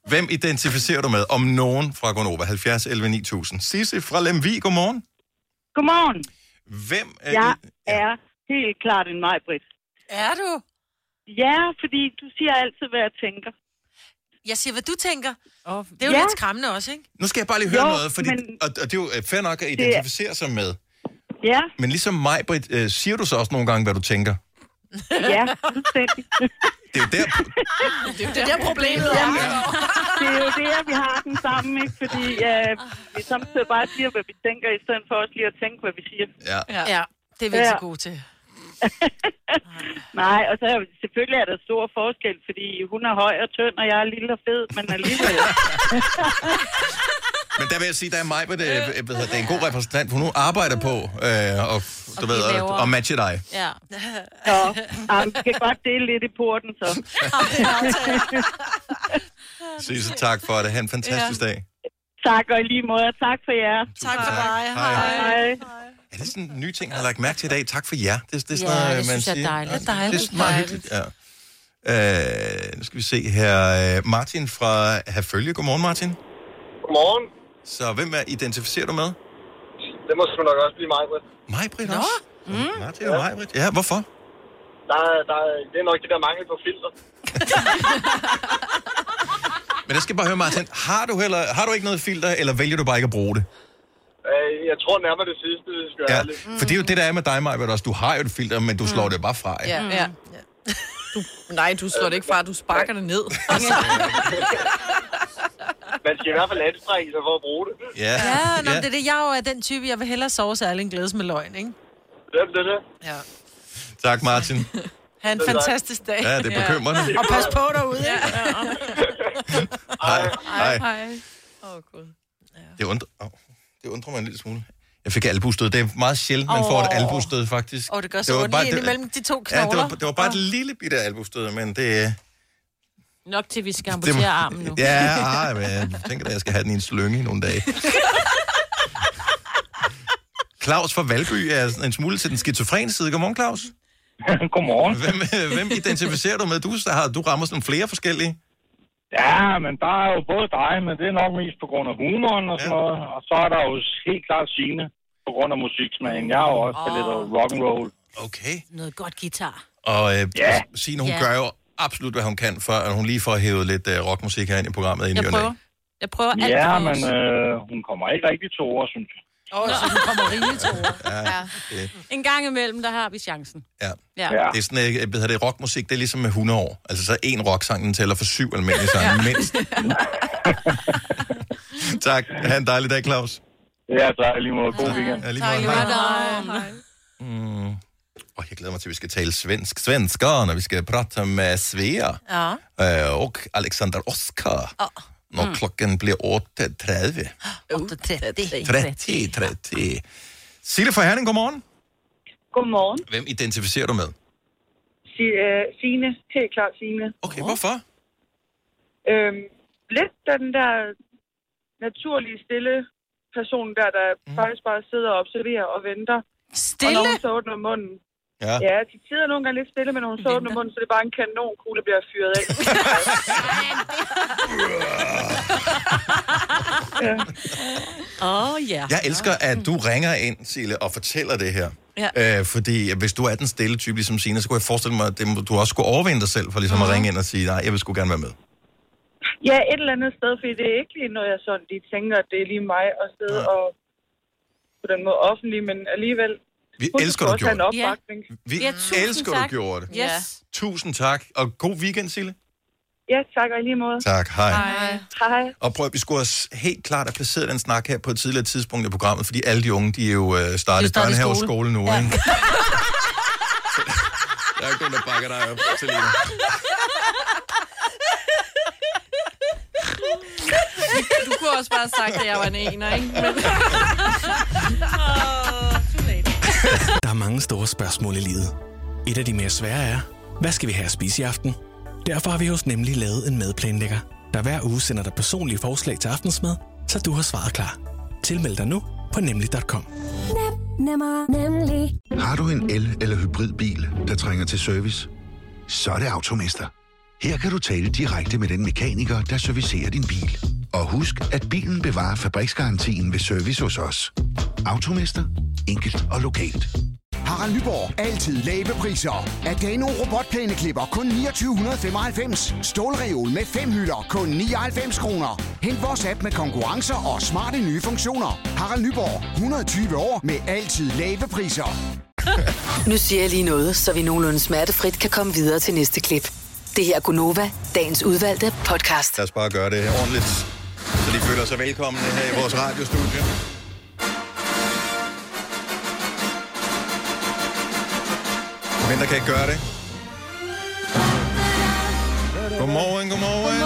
A: Hvem identificerer du med, om nogen fra Gonova? 70 11 9000. Sisse fra Lemvi, godmorgen.
U: Godmorgen.
A: Hvem er
U: Jeg er helt klart en mig, Britt.
B: Er du?
U: Ja, fordi du siger altid, hvad jeg tænker.
B: Jeg siger, hvad du tænker. Oh, det er jo
U: Ja.
B: ja. lidt skræmmende også, ikke?
A: Nu skal jeg bare lige høre
B: Jo,
A: jo, noget, fordi,
B: men-
A: men... og, og det er jo øh, fair nok at identificere sig med.
U: Ja,
A: Men ligesom mig, Britt, øh, siger du så også nogle gange, hvad du tænker?
U: ja, fuldstændig.
A: Det er jo der,
C: det er jo det, der problemet er.
U: Jamen, det er jo det, at vi har den sammen, ikke? Fordi øh, vi samtidig bare siger, hvad vi tænker, i stedet for også lige at tænke, hvad vi siger.
A: Ja.
U: Ja.
B: ja det er vi ikke
U: Ja.
B: så gode til.
U: Nej, og så er jo- selvfølgelig er der stor forskel, fordi hun er høj og tynd, og jeg er lille og fed, men
A: <laughs>
U: alligevel...
A: Men der vil jeg sige, der er mig, det,
C: Øh.
A: det er en god repræsentant, for hun arbejder på øh, og, du ved, at-
U: laver-
A: at matche dig.
U: Ja. Nå, jamen, vi kan godt dele lidt i porten, så.
A: Sisse, tak for det. Ha' en fantastisk
U: Ja.
A: dag.
U: tak, og i lige måde, og tak for jer.
A: Tak for tak. dig. Hej.
U: Hej.
A: Er det sådan en ny ting, jeg har lagt mærke til i dag? Tak for jer. Det, det er sådan
U: Ja,
A: noget,
U: det
A: man
U: synes jeg er
A: siger.
U: dejligt.
A: Ja,
U: Dejligt,
A: Det er meget hyggeligt. Ja. Øh, nu skal vi se her. Øh, Martin fra Herfølge. Godmorgen, Martin.
V: Godmorgen.
A: Så hvem er, identificerer du med?
V: Det må sgu nok også blive mig, Britt.
A: Mig, Britt også? Mm. Martin og mig, Britt. Ja, hvorfor?
V: Der, er- der, er- det er nok det der mangel på filter.
A: Men jeg skal bare høre, Martin. Har du, heller, har du ikke noget filter, eller vælger du bare ikke at bruge det?
V: Øh, jeg tror nærmere det sidste, hvis jeg skal være
A: Ja.
V: ærlig.
A: For det er jo det, der er med dig, Maja, også. Du har jo et filter, men du
U: Mm.
A: slår det bare fra. ikke?
C: Ja, ja. Du, nej, du slår det ikke fra, du sparker det ned. Altså.
V: Man skal i hvert fald anstrenge sig for at bruge det.
A: Ja,
B: Ja, nå, men det er det. Jeg er jo er den type, jeg vil hellere sove, så alle en glædes med løgn, ikke?
V: Det er det.
B: Ja.
A: Tak, Martin.
B: Ha' en
A: Selv tak.
B: fantastisk dag.
A: Ja, det er bekymrende.
B: <laughs> Og pas på derude, ikke?
A: <laughs> Hej. Hej.
C: Hej. Åh, oh, Gud.
A: Det undrer, oh, det undrer mig en lille smule. Jeg fik albustød. Det er meget sjældent, man oh. får et
B: Åh.
A: albustød, faktisk.
B: Åh, det gør så
A: var
B: ondt
A: bare-
B: lige ind imellem de to
A: Ja, det
B: knogler.
A: var, det var bare et lille bitte albustød, men det... øh,
D: Nok til, vi skal
A: det
D: amputere armen nu.
A: Ja, ah, men jeg tænker, at jeg skal have den i en slynge i nogle
D: <laughs>
A: dage. Claus fra Valby er sådan en smule til den skizofrene side. Godmorgen, Claus.
W: <laughs> Godmorgen.
A: Hvem, øh, hvem identificerer du med? Du, har, du rammer sådan flere forskellige.
W: Ja, men der er jo både dig, men det er nok mest på grund af humoren og sådan noget. Og så er der jo helt klart Signe på grund af musiksmagen. Jeg er jo også oh. lidt af rock and roll.
A: Okay.
D: Noget godt guitar.
A: Og øh, ja. Signe, hun
D: Ja.
A: ja. gør jo absolut, hvad hun kan, for at hun lige får hævet lidt øh, rockmusik her ind i programmet. Ind
D: Jeg
A: i ny og næ.
D: prøver. Jeg prøver alt
W: Ja,
D: for os.
W: men øh, hun kommer ikke rigtig til ord, synes jeg.
D: Åh, så hun kommer rimelig til ord.
A: Ja. Det,
D: En gang imellem, der har vi chancen.
A: ja.
D: Ja.
A: Ja. Det er sådan, øh, hvad hedder det, rockmusik, det er ligesom med 100 år. Altså så en rocksang, den tæller for syv almindelige sange, mindst. tak. Ha' en dejlig dag, Claus.
W: Ja, tak. Lige måde. God weekend.
A: Ja, lige måde. Hej.
C: Hej.
A: Mm. Og jeg glæder mig til, at vi skal tale svensk. Svensker, når vi skal prate med Svea.
B: Ja.
A: Øh, og Alexander Oskar. Når
B: Mm.
A: klokken bliver 8.30.
B: 8.30.
A: 30, 30. Sille fra Herning, godmorgen.
P: Godmorgen.
A: Hvem identificerer du med?
P: Si- øh, Signe. Helt klart Signe.
A: Okay, hvorfor?
P: Øhm, lidt af den der naturlige, stille person der, der mm. faktisk bare sidder og observerer og venter.
B: Stille?
P: Og når hun så åbner munden.
A: Ja.
O: <laughs>
P: ja, de sidder nogle gange lidt stille, men når hun så åbner munden, så er det bare en kanonkugle, der bliver fyret
U: <laughs>
P: af.
E: Åh, oh, ja.
A: Jeg elsker, at du ringer ind, Sille, og fortæller det her.
E: Ja.
A: Øh, fordi hvis du er den stille type, ligesom Signe, så kunne jeg forestille mig, at det må- du også skulle overvinde dig selv for ligesom
P: Mhm.
A: at ringe ind og sige, nej, jeg vil sgu gerne være med.
P: Ja, et eller andet sted, fordi det er ikke lige noget, jeg sådan lige tænker, at det er lige mig at sidde ja. og på den måde offentlig, men alligevel...
A: Vi
P: Hun
A: elsker,
P: skulle
A: du
P: også have
A: gjorde
P: en
A: det.
P: opbakning.
A: Vi elsker, du gjorde det.
P: Yes.
A: Tusind tak, og god weekend, Sille.
P: Ja, tak og i lige måde.
A: Tak, hej.
P: Hej.
A: Og prøv, at- vi skulle også helt klart have placeret den snak her på et tidligere tidspunkt i programmet, fordi alle de unge, de er jo øh, startet i
I: startet i
A: børnehave og
I: skole.
A: skole nu,
I: Ja.
A: ja. ikke? Der er kun, der bakker dig op, Selina.
C: Du kunne også bare have sagt, at jeg var en ener, ikke? Men...
Q: Der er mange store spørgsmål i livet. Et af de mere svære er, hvad skal vi have at spise i aften? Derfor har vi hos Nemlig lavet en madplanlægger, der hver uge sender dig personlige forslag til aftensmad, så du har svaret klar. Tilmeld dig nu på nemlig.com.
R: Nem, nemmer, nemlig.
S: Har du en el- eller hybridbil, der trænger til service? Så er det Automester. Her kan du tale direkte med den mekaniker, der servicerer din bil. Og husk, at bilen bevarer fabriksgarantien ved service hos os. Automester. Enkelt og lokalt.
T: Harald Nyborg. Altid lave priser. Adano robotplæneklipper kun 2995. Stålreol med fem hylder kun 99 kroner. Hent vores app med konkurrencer og smarte nye funktioner. Harald Nyborg. 120 år med altid lave priser.
F: Nu siger jeg lige noget, så vi nogenlunde smertefrit kan komme videre til næste klip. Det her er Gunova, dagens udvalgte podcast.
A: Lad os bare gøre det ordentligt, så de føler sig velkomne her i vores radiostudie. Hvem der kan ikke gøre det? Godmorgen, godmorgen.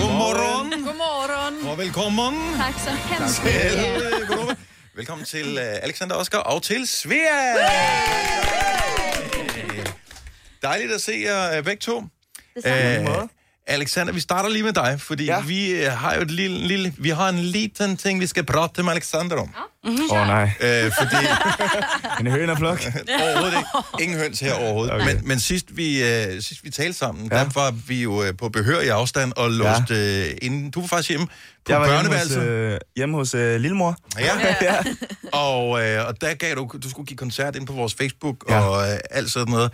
A: Godmorgen.
C: Godmorgen.
A: Og velkommen.
J: Tak så hemskt
A: Til,
J: mycket.
A: øh, Gunova. Velkommen til øh, Alexander Oskar og til Svea. Øh, Dejligt at se jer øh, begge to.
X: Det samme.
A: Øh, Alexander, vi starter lige med dig, fordi ja. vi øh, har jo et lille, lille, vi har en liten ting, vi skal prate med Alexander om.
Y: Åh oh, nej.
A: Øh,
Y: <laughs>
A: fordi...
Y: en hønerflok.
A: <laughs> overhovedet ikke. Ingen høns her overhovedet. Okay. Men, men sidst, vi, øh, sidst vi talte sammen, ja. der var vi jo øh, på behør i afstand og låst ja. øh, inden. Du var faktisk hjemme på
Y: Jeg var hjemme hos,
A: børneværelset.
Y: øh, hjemme hos øh, lillemor.
A: Ja.
Y: <laughs>
A: ja. og, øh, og der gav du, du skulle give koncert ind på vores Facebook ja. og øh, alt sådan noget.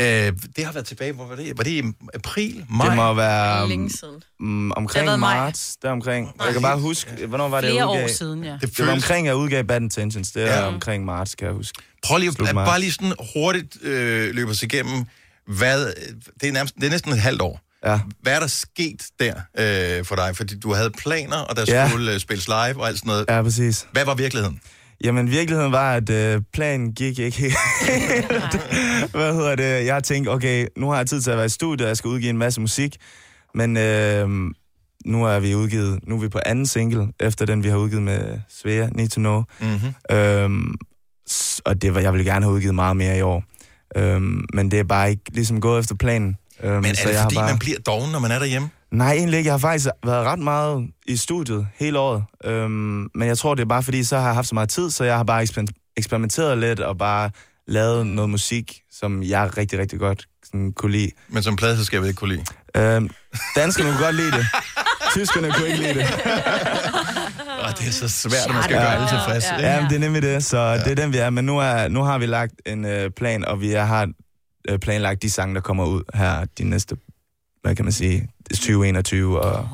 A: Øh, det har været tilbage, hvor var det? Var det i april, maj?
Y: Det må være
C: Længe siden.
Y: Mm,
C: Det har været
Y: omkring
C: maj.
Y: marts, der omkring. Jeg kan bare huske, hvornår var det, jeg
C: Flere år
Y: udgav?
C: siden, ja. Det
Y: Det, det var
A: føles-
Y: omkring, jeg udgav Bad Intentions. Det er
A: Ja.
Y: ja. omkring marts, kan jeg huske.
A: Prøv lige
Y: Slut
A: at,
Y: marts.
A: bare lige sådan hurtigt øh, løbe os igennem, hvad, det, er nærmest, det er næsten et halvt år.
Y: Ja.
A: Hvad er der sket der øh, for dig? Fordi du havde planer, og der
Y: Ja.
A: skulle øh, spilles live og alt sådan noget.
Y: Ja, præcis.
A: Hvad var virkeligheden?
Y: Jamen, virkeligheden var, at øh, planen gik ikke helt. Hvad hedder det? Jeg tænkte, okay, nu har jeg tid til at være i studiet, og jeg skal udgive en masse musik. Men øh, nu er vi udgivet, nu er vi på anden single, efter den, vi har udgivet med Svea, Need to Know.
A: Mm-hmm.
Y: Øhm, s- og det var, jeg ville gerne have udgivet meget mere i år. Øhm, men det er bare ikke ligesom gået efter planen. Øhm,
A: Men er det
Y: har
A: fordi, bare... man bliver doven, når man er derhjemme?
Y: Nej, egentlig ikke. Jeg har faktisk været ret meget i studiet hele året. Øhm, men jeg tror, det er bare fordi, så har jeg haft så meget tid, så jeg har bare eksper- eksperimenteret lidt og bare lavet noget musik, som jeg rigtig, rigtig godt sådan, kunne lide.
A: Men som pladeselskabet ikke kunne lide?
Y: Øhm, danskerne kunne godt lide det. Tyskerne kunne ikke lide det.
A: Åh, det er så svært, at man skal gøre alle tilfredse.
Y: Ja,
A: ikke?
Y: ja, men det er nemlig det. Så ja. det er den, vi er. Men nu, er, nu har vi lagt en øh, plan, og vi har øh, planlagt de sange, der kommer ud her de næste, hvad kan man sige, 2021 og...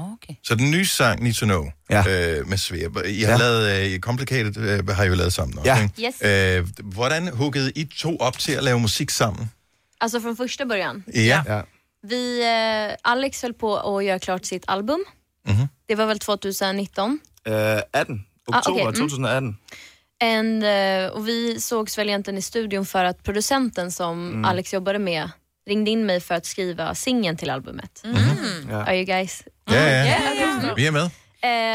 A: Så den nye sang, Need to Know,
Y: ja.
A: øh, med Svea. I har ja.
Y: Ja.
A: lavet, øh, Complicated øh, har I jo lavet sammen også,
Y: Ja.
A: ikke?
J: Yes.
A: Øh, hvordan huggede I to op till att lave musik sammen?
J: Alltså från första början.
A: Ja.
Y: ja.
J: Vi, eh, Alex höll på att göra klart sitt album.
A: Mhm.
J: Det var väl 2019.
Y: Øh, 18.
J: Ah,
Y: Oktober
J: okay, mm.
Y: 2018.
J: En, eh, och vi sågs väl egentligen i studion för att producenten som
Y: Mm.
J: Alex jobbade med ringde in mig för att skriva singeln till albumet.
A: Mm.
J: Are you guys?
A: Ja, ja.
J: Mm.
A: Vi er med.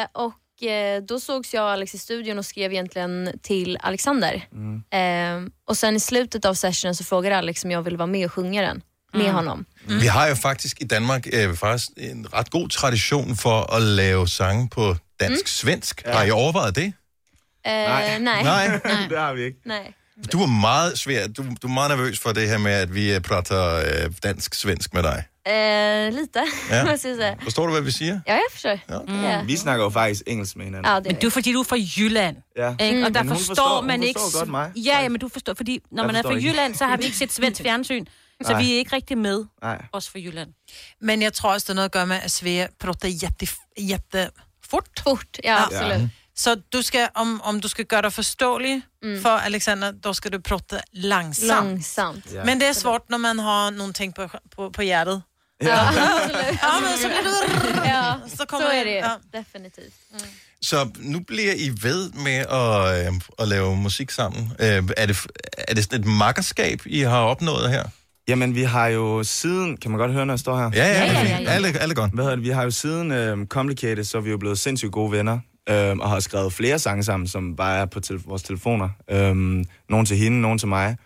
J: Eh, och eh, då sågs jag och Alex i studion och skrev egentligen till Alexander.
A: Mm.
J: Eh, och sen i slutet av sessionen så frågade Alex om jag ville vara med och sjunga den med honom.
A: Mm. Vi har jo faktisk i Danmark øh, faktisk en ret god tradition for at lave sange på dansk-svensk. Mm. Har I overvejet det?
J: Eh, nej.
A: Nej,
J: <laughs>
A: <laughs>
J: nej.
Y: det har vi ikke.
J: nej.
A: Du er meget svær. Du, du er meget nervøs for det her med, at vi øh, prater øh, dansk-svensk med dig.
J: Eh, lite, <laughs>
A: Ja.
J: måste jag säga.
A: Forstår du, hvad vi siger?
J: Ja, jeg forstår. Ja. Ja.
Y: Vi snakker jo faktisk engelsk med hinanden.
J: Ja, det
D: Men du, fordi du er fra Jylland,
Y: Ja.
D: ikke? Mm. og der
Y: Mm. Men hun
D: forstår,
Y: forstår- hun
D: man ikke...
Y: forstår godt mig.
D: Ja, ja, men du forstår, fordi når
Y: Jeg
D: man er
Y: forstår
D: fra
Y: ikke.
D: Jylland, så har vi ikke set svensk fjernsyn, så
Y: Nej.
D: vi er ikke rigtig med,
Y: Nej.
D: også fra Jylland.
B: Men jeg tror også, det er noget at gøre med, at Svea prater jätte, jätte fort.
J: Fort, ja, absolut. Ja.
B: Så du skal, om, om du skal gøre dig forståelig mm. for Alexander, då skal du prata långsamt.
J: Långsamt.
B: Ja. Men det är svårt när man har någonting på, på, på hjärtat.
J: Ja,
B: Ja, men så blir du...
J: Ja,
B: så kommer
J: så
B: det-
J: är det ju.
B: ja.
J: Definitivt.
A: <laughs> Så nu bliver I ved med at, øh, at lave musik sammen. Øh, er, det, er det sådan et makkerskab, I har opnået her?
Y: Jamen, vi har jo siden... Kan man godt høre, når jeg står her?
A: Ja, ja, Ja, ja, ja, ja. Alle- alle godt.
Y: Hvad hedder det? Vi har jo siden øh, Complicated, så er vi jo blevet sindssygt gode venner. Øh, og har skrevet flere sange sammen, som bare er på tele- vores telefoner. Øh, nogle til hende, nogle til mig.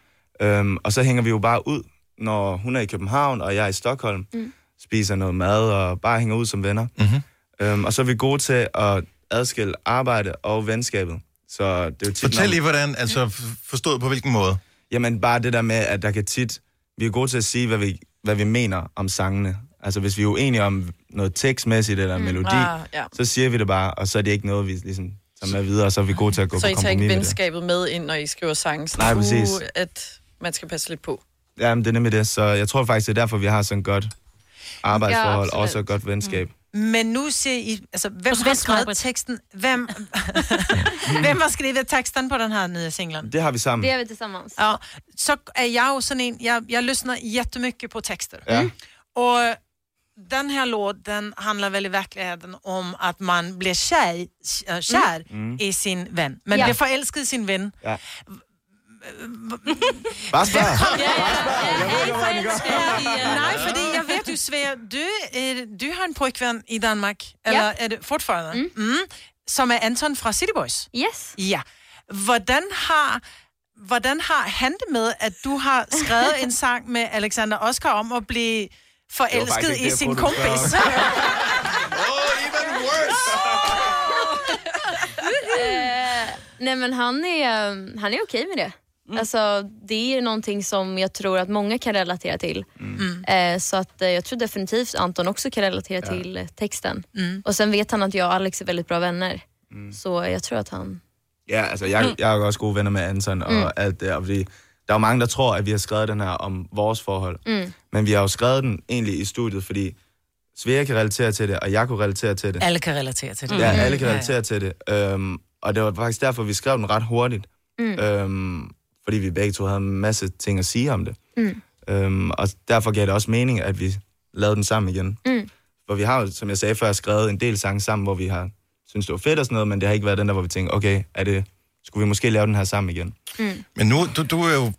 Y: Øh, og så hænger vi jo bare ud, når hun er i København, og jeg er i Stockholm. Mm. Spiser noget mad og bare hænger ud som venner.
X: <laughs>
Y: Mm-hmm. Øh, og så er vi gode til at adskille arbejde og venskabet. Så det er jo tit,
A: Fortæl
Y: når-
A: lige, hvordan, altså f- forstået på hvilken måde?
Y: Jamen bare det der med, at der kan tit... Vi er gode til at sige, hvad vi, hvad vi mener om sangene. Altså hvis vi er uenige om noget tekstmæssigt eller mm, melodi,
C: ah, ja.
Y: så siger vi det bare, og så er det ikke noget, vi ligesom tager med videre, og så er vi gode til at gå
C: Så
Y: på
C: I tager ikke
Y: kompromis med det.
C: venskabet med ind, når I skriver sangen? Sådan,
Y: Nej, præcis.
C: Uh, at man skal passe lidt på.
Y: Jamen det er nemlig det, så jeg tror faktisk, det er derfor, vi har sådan et godt arbejdsforhold,
B: Ja,
Y: ja, også et godt venskab.
C: Mm.
B: Men nu ser I... Altså, hvem
D: På
B: har
D: svensk,
B: skrevet
D: Maj-Brit.
B: teksten?
Y: <laughs>
B: Hvem, hvem har skrevet teksten på den her nya singeln?
Y: Det har vi sammen.
J: Det är vi tillsammans.
B: Ja, så är jag och Sanin, jag, jag lyssnar jättemycket på texter.
Y: Ja.
B: Och den här låten handlar väl i verkligheten om att man blir kär, äh, kär
A: Mm.
B: i sin vän. Men
A: Ja.
B: blir förälskad i sin vän.
Y: Ja.
A: Bare spørg.
B: Nej, för det, jag vet ju Svea, du, är, du har en pojkvän i Danmark, eller är det fortfarande? Mm. som är Anton från City Boys.
J: Yes.
B: Ja. Hvordan har, hvordan har han det med, at du har skrevet
J: <laughs>
B: en sang med Alexander Oskar om at blive
A: faktisk
B: forelsket
A: ikke
B: i
A: det, jeg
B: sin
A: troede, du ville
B: kompis? <laughs>
A: spørge oh, even worse!
J: Eh, nej men han är, eh, han är okej med det.
B: Mm.
J: Alltså, det är ju någonting som jag tror att många kan relatera till.
Y: Mm.
J: Eh, så att, eh, jag tror definitivt Anton också kan relatera till eh, texten.
Y: Mm.
J: Och sen vet han att jag och Alex är väldigt bra vänner. Så jag tror att han...
Y: Ja, altså jeg, jeg er jo også gode venner med Anton og
J: Mm.
Y: alt det, og fordi der er jo mange, der tror, at vi har skrevet den her om vores forhold.
B: <laughs>
J: Mm.
Y: Men vi har jo skrevet den egentlig i studiet, fordi Svea kan relatere til det, og jeg kunne relatere til det.
B: Alle kan relatere til det.
Y: Ja, alle kan
B: Ja, ja.
Y: relatere til det. Øhm, og det var faktisk derfor, vi skrev den ret hurtigt.
J: Mm.
X: Øh.
Y: Øhm, fordi vi begge to havde en masse ting at sige om det.
J: Mm.
Y: Øhm, og derfor gav det også mening, at vi lavede den sammen igen.
J: Mm.
Y: For vi har jo, som jeg sagde før, skrevet en del sange sammen, hvor vi har synes det var fedt og sådan noget, men det har ikke været den der, hvor vi tænkte, okay, er det, skulle vi måske lave den her sammen igen?
J: Mm.
A: Men nu, du, du er jo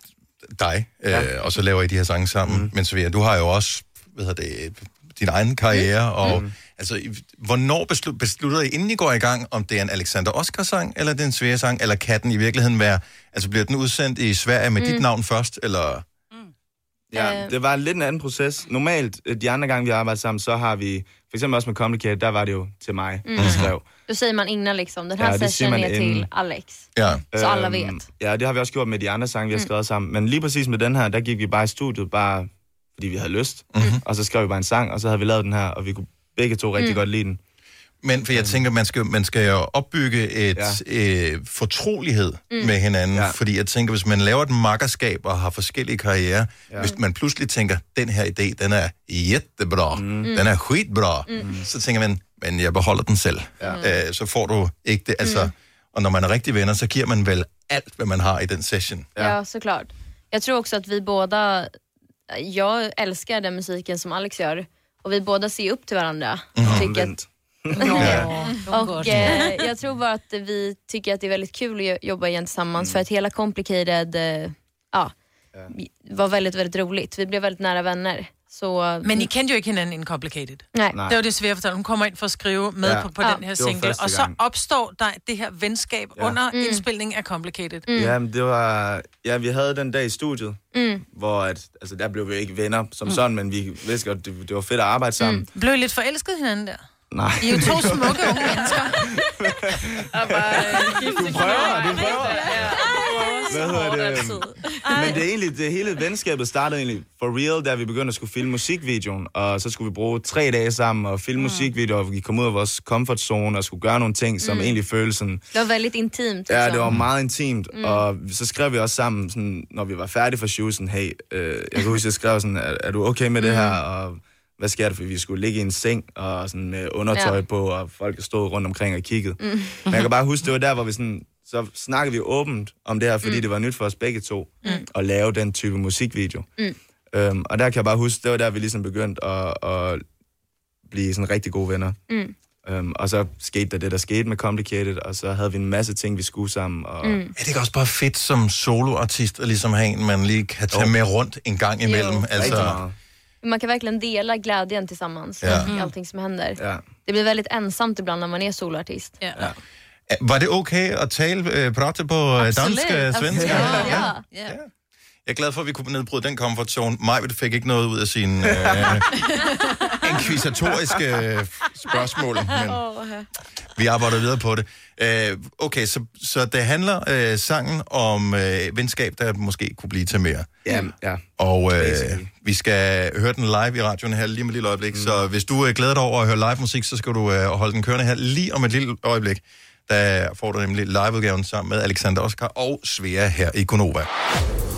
A: dig, ja. øh, og så laver I de her sange sammen. Mm. Men Svea, du har jo også hvad hedder det, din egen karriere. Mm. Og, mm. Altså, i- hvornår beslu- beslutter I, inden I går i gang, om det er en Alexander Oscar-sang, eller det er en Svea-sang, eller kan den i virkeligheden være... Altså, bliver den udsendt i Sverige med mm. dit
Y: Mm.
A: navn først, eller...
J: Øh.
Y: Ja, det var lidt en anden proces. Normalt, øh, de andre gange, vi arbejder sammen, så har vi, for eksempel også med Complicated, der var det jo til mig,
J: Mm.
Y: mm. de skrev.
J: Då säger man innan liksom, den här
Y: Ja, det ser
J: sessionen
Y: man Ehm,
J: är till
Y: inden.
J: Alex.
A: Ja.
J: Så alle ved.
Y: Øhm, Ja, det har vi også gjort med de andre sange, vi har
J: Mm.
Y: skrevet sammen. Men lige præcis med den her, der gik vi bare i studiet, bare fordi vi havde lyst.
A: Mhm.
Y: Mm-hmm. Og så skrev vi bare en sang, og så havde vi lavet den her, og vi kunne begge to rigtig mm.
A: Mm.
Y: godt lide den. Mm.
A: Men for jeg tænker, man skal, man skal jo opbygge et ja. øh, fortrolighed
Y: Mm.
A: mm. med hinanden, ja. fordi jeg tænker, hvis man laver et makkerskab og har forskellige karriere, ja. hvis man pludselig tænker, den her idé, den er jättebra, mm. den er skitbra, mm. så tænker man, men jeg beholder den selv. Ja. Øh, så får du ikke det. Altså, mm. Og når man er rigtig venner, så giver man vel alt, hvad man har i den session.
J: Ja. såklart. Jag tror också att vi båda, jag älskar den musiken som Alex gör och vi båda ser upp till varandra.
Y: Mm.
J: Och tycker att, och, eh, jag tror bara att vi tycker att det är väldigt kul att jo- jobba igen tillsammans
Y: Mm.
J: för att hela Complicated eh, ja, var väldigt, väldigt roligt. Vi blev väldigt nära vänner. Så, uh,
B: Men I kendte jo ikke hinanden inden Complicated.
J: Nej.
B: Det var det svære at fortælle. Hun kommer ind for at skrive med
J: Ja.
B: ja. på, på
J: Ja.
B: den her
J: Det var
B: single.
Y: første
B: Og så
Y: gang.
B: opstår der det her venskab
Y: Ja.
B: ja. under
J: Mm.
B: mm. indspilningen af Complicated.
Y: Mm. Jamen, det var... Ja, vi havde den dag i studiet,
B: Mm.
Y: hvor at, altså, der blev vi ikke venner som
B: Mm.
Y: sådan, men vi vidste godt, det, det var fedt at arbejde sammen. Mm.
B: Blev I lidt forelsket i hinanden der?
Y: Nej.
B: I er jo
Y: <laughs>
B: to smukke unge mennesker.
C: Og bare, øh,
Y: Du prøver, du prøver. Hvad hedder det?
B: Ej.
Y: Men det er egentlig, det hele venskabet startede egentlig for real, da vi begyndte at skulle filme musikvideoen, og så skulle vi bruge tre dage sammen og filme mm. musikvideoer, og vi kom ud af vores comfort zone og skulle gøre nogle ting, som
J: Mm.
Y: mm. egentlig føles sådan,
J: det var lidt intimt.
Y: ja,
J: altså.
Y: det var meget intimt,
J: Mm.
Y: mm. og så skrev vi også sammen, sådan, når vi var færdige for show, sådan, hey, øh, jeg kan huske, jeg skrev sådan, er, er du okay med
J: Mm.
Y: det her, og hvad sker der, for vi skulle ligge i en seng, og sådan med undertøj
J: Ja.
Y: ja. på, og folk stod rundt omkring og kiggede.
J: Mm.
Y: Men jeg kan bare huske, det var der, hvor vi sådan, så snakkede vi åbent om det her, fordi
J: Mm.
Y: mm. det var nyt for os begge to
J: Mm.
Y: at lave den type musikvideo.
J: Mm.
Y: Øhm, og der kan jeg bare huske, det var der, vi ligesom begyndte at, at blive sådan rigtig gode venner.
J: Mm.
Y: Øhm, og så skete der det, der skete med Complicated, og så havde vi en masse ting, vi skulle sammen. Og...
A: Mm. Er det ikke også bare fedt som soloartist at ligesom have en, man lige kan tage med rundt en gang imellem?
J: Jo. Rigtig
A: Altså,
Y: meget.
J: Man kan verkligen dela glädjen tillsammans
A: Ja.
J: i allting som händer.
Y: Ja.
J: Det blir väldigt ensamt ibland när man är soloartist.
A: Ja. var det okay at tale øh, prate på øh, dansk og svensk?
J: Ja. Ja.
A: Jeg er glad for, at vi kunne nedbryde den komfortzone. Majved fik ikke noget ud af sine øh, inkvisatoriske øh, spørgsmål, men
C: Åh,
A: vi arbejder videre på det. Øh, okay, så, så det handler øh, sangen om øh, venskab, der måske kunne blive til mere.
Y: Ja, ja.
A: Og øh, vi skal høre den live i radioen her lige om et lille øjeblik. Mm. Så hvis du øh, glæder dig over at høre live musik, så skal du øh, holde den kørende her lige om et lille øjeblik. Der får du nemlig liveudgaven sammen med Alexander Oskar og Svea her i Gonova.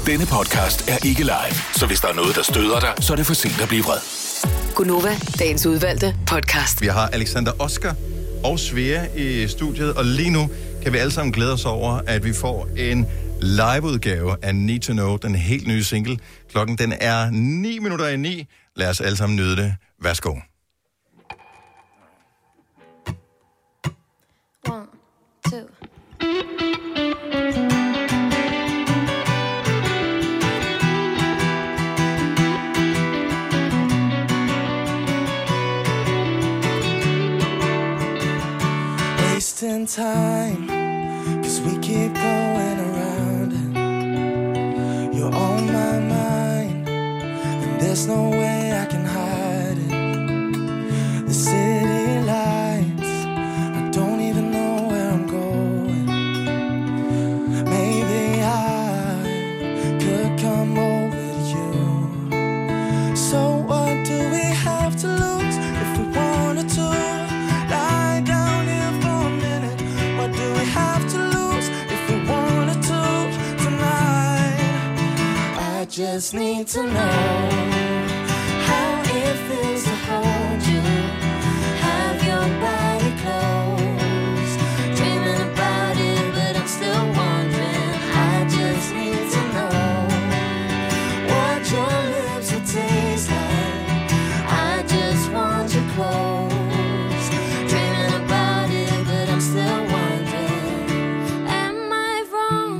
I: Denne podcast er ikke live, så hvis der er noget, der støder dig, så er det for sent at blive vred.
F: Gunova, dagens udvalgte podcast.
A: Vi har Alexander Oskar og Svea i studiet, og lige nu kan vi alle sammen glæde os over, at vi får en liveudgave af Need to Know, den helt nye single. Klokken den er 9 minutter i 9. Lad os alle sammen nyde det. Værsgo.
J: One, two.
X: wasting time cause we keep going around you're on my mind and there's no way i can hide it the city lights i don't even know where i'm going maybe i could come over to you so what do we have to lose if we wanted to lie down here for a minute? What do we have to lose if we wanted to tonight? I just need to know how it feels to hold you, have your body close, dreaming about it, but I'm still wondering. I just need to know what your lips will taste like. I just want you close. Dreaming about it, but I'm still wondering. Am I wrong?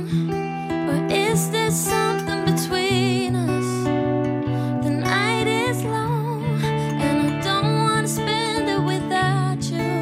X: Or is there something between us? The night is long, and I don't wanna spend it without you.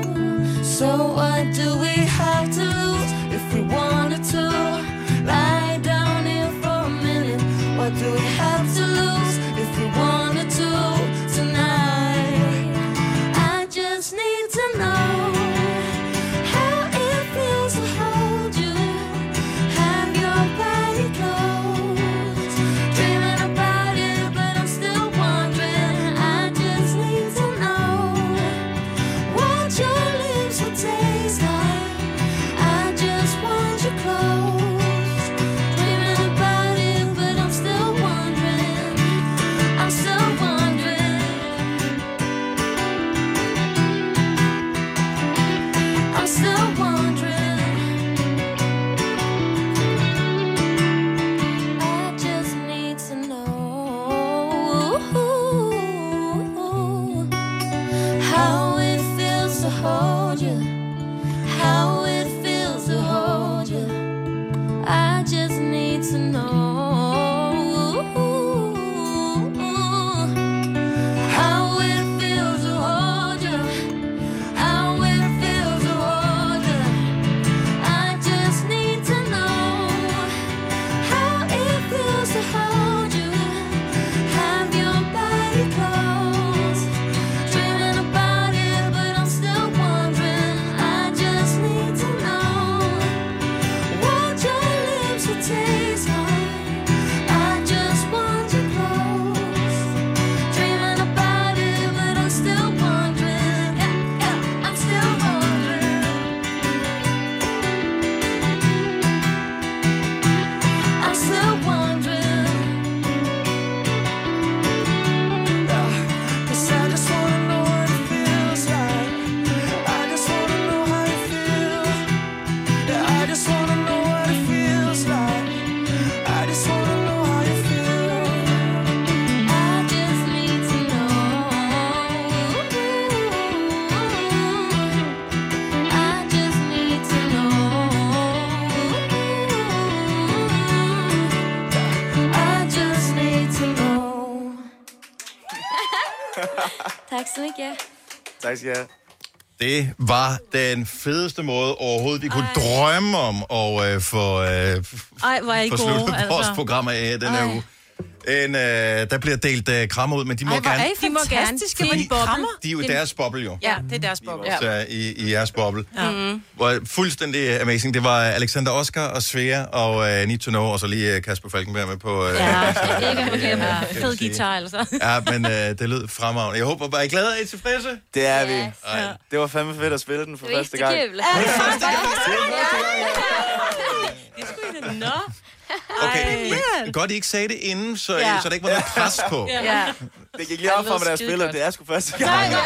Z: Tack så mycket.
Y: Tak skal I have.
A: Det var den fedeste måde overhovedet, vi kunne Ej. drømme om at øh, få, øh,
X: Ej, hvor er I
A: få
X: gode,
A: sluttet
X: altså.
A: vores program af den her
X: Ej.
A: uge. En, øh, der bliver delt øh, krammer ud, men de må
B: Ej, hvor
A: gerne...
B: er I
X: De må gerne.
B: fantastiske,
X: De-
B: hvor de krammer.
A: de er jo i deres boble, jo.
B: Ja, det er deres boble.
A: Ja. Så i, i jeres boble.
B: Ja.
A: Mm. Hvor fuldstændig amazing. Det var Alexander Oscar og Svea og øh, Need to Know, og så lige øh, Kasper Falkenberg med på... Øh,
X: Ja, ikke at glemme. Fed
A: sige.
X: guitar, altså.
A: <laughs> ja, men øh, det lød fremragende. Jeg håber bare, I er glade og I er tilfredse.
Y: Det er vi.
A: Ej.
Y: Det var fandme fedt at spille den for første gang.
X: Nå.
A: Okay, men godt, I ikke sagde det inden, så, ja.
Y: Ja.
A: så der ikke var noget pres på.
B: Ja.
Y: Det gik lige op for mig, da jeg spillede. Det er sgu første gang.
B: Ej,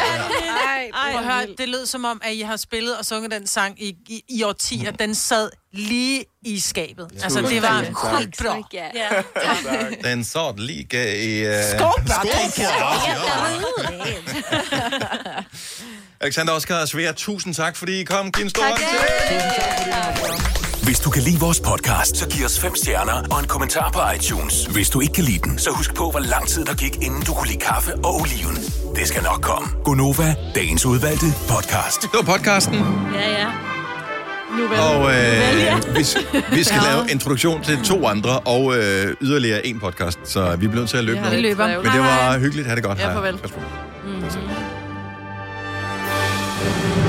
B: Ej, hør, det lød som om, at I har spillet og sunget den sang i, i, i årtier. Den sad lige i skabet. Ja. Altså, det var
A: Tusind
B: helt bra.
Z: Ja.
Y: <laughs>
A: Den sad lige i... Øh,
B: Skål, bare,
A: Skål,
B: Ja,
A: Alexander Oskar og Svea, tusind tak, fordi I kom. Giv en stor hånd til.
M: Hvis du kan lide vores podcast, så giv os fem stjerner og en kommentar på iTunes. Hvis du ikke kan lide den, så husk på, hvor lang tid der gik, inden du kunne lide kaffe og oliven. Det skal nok komme. Gonova, dagens udvalgte podcast.
A: Det var podcasten.
X: Ja, ja.
B: Nu
A: Og øh, vi, vi
B: <laughs>
A: skal lave introduktion til to andre og øh, yderligere en podcast, så vi bliver nødt til at løbe
B: Ja,
A: nu.
B: vi løber.
A: Men det var hyggeligt. Ha' det godt.
B: Ja,
A: Hej.
B: farvel.
A: Pas på.
B: Mm-hmm.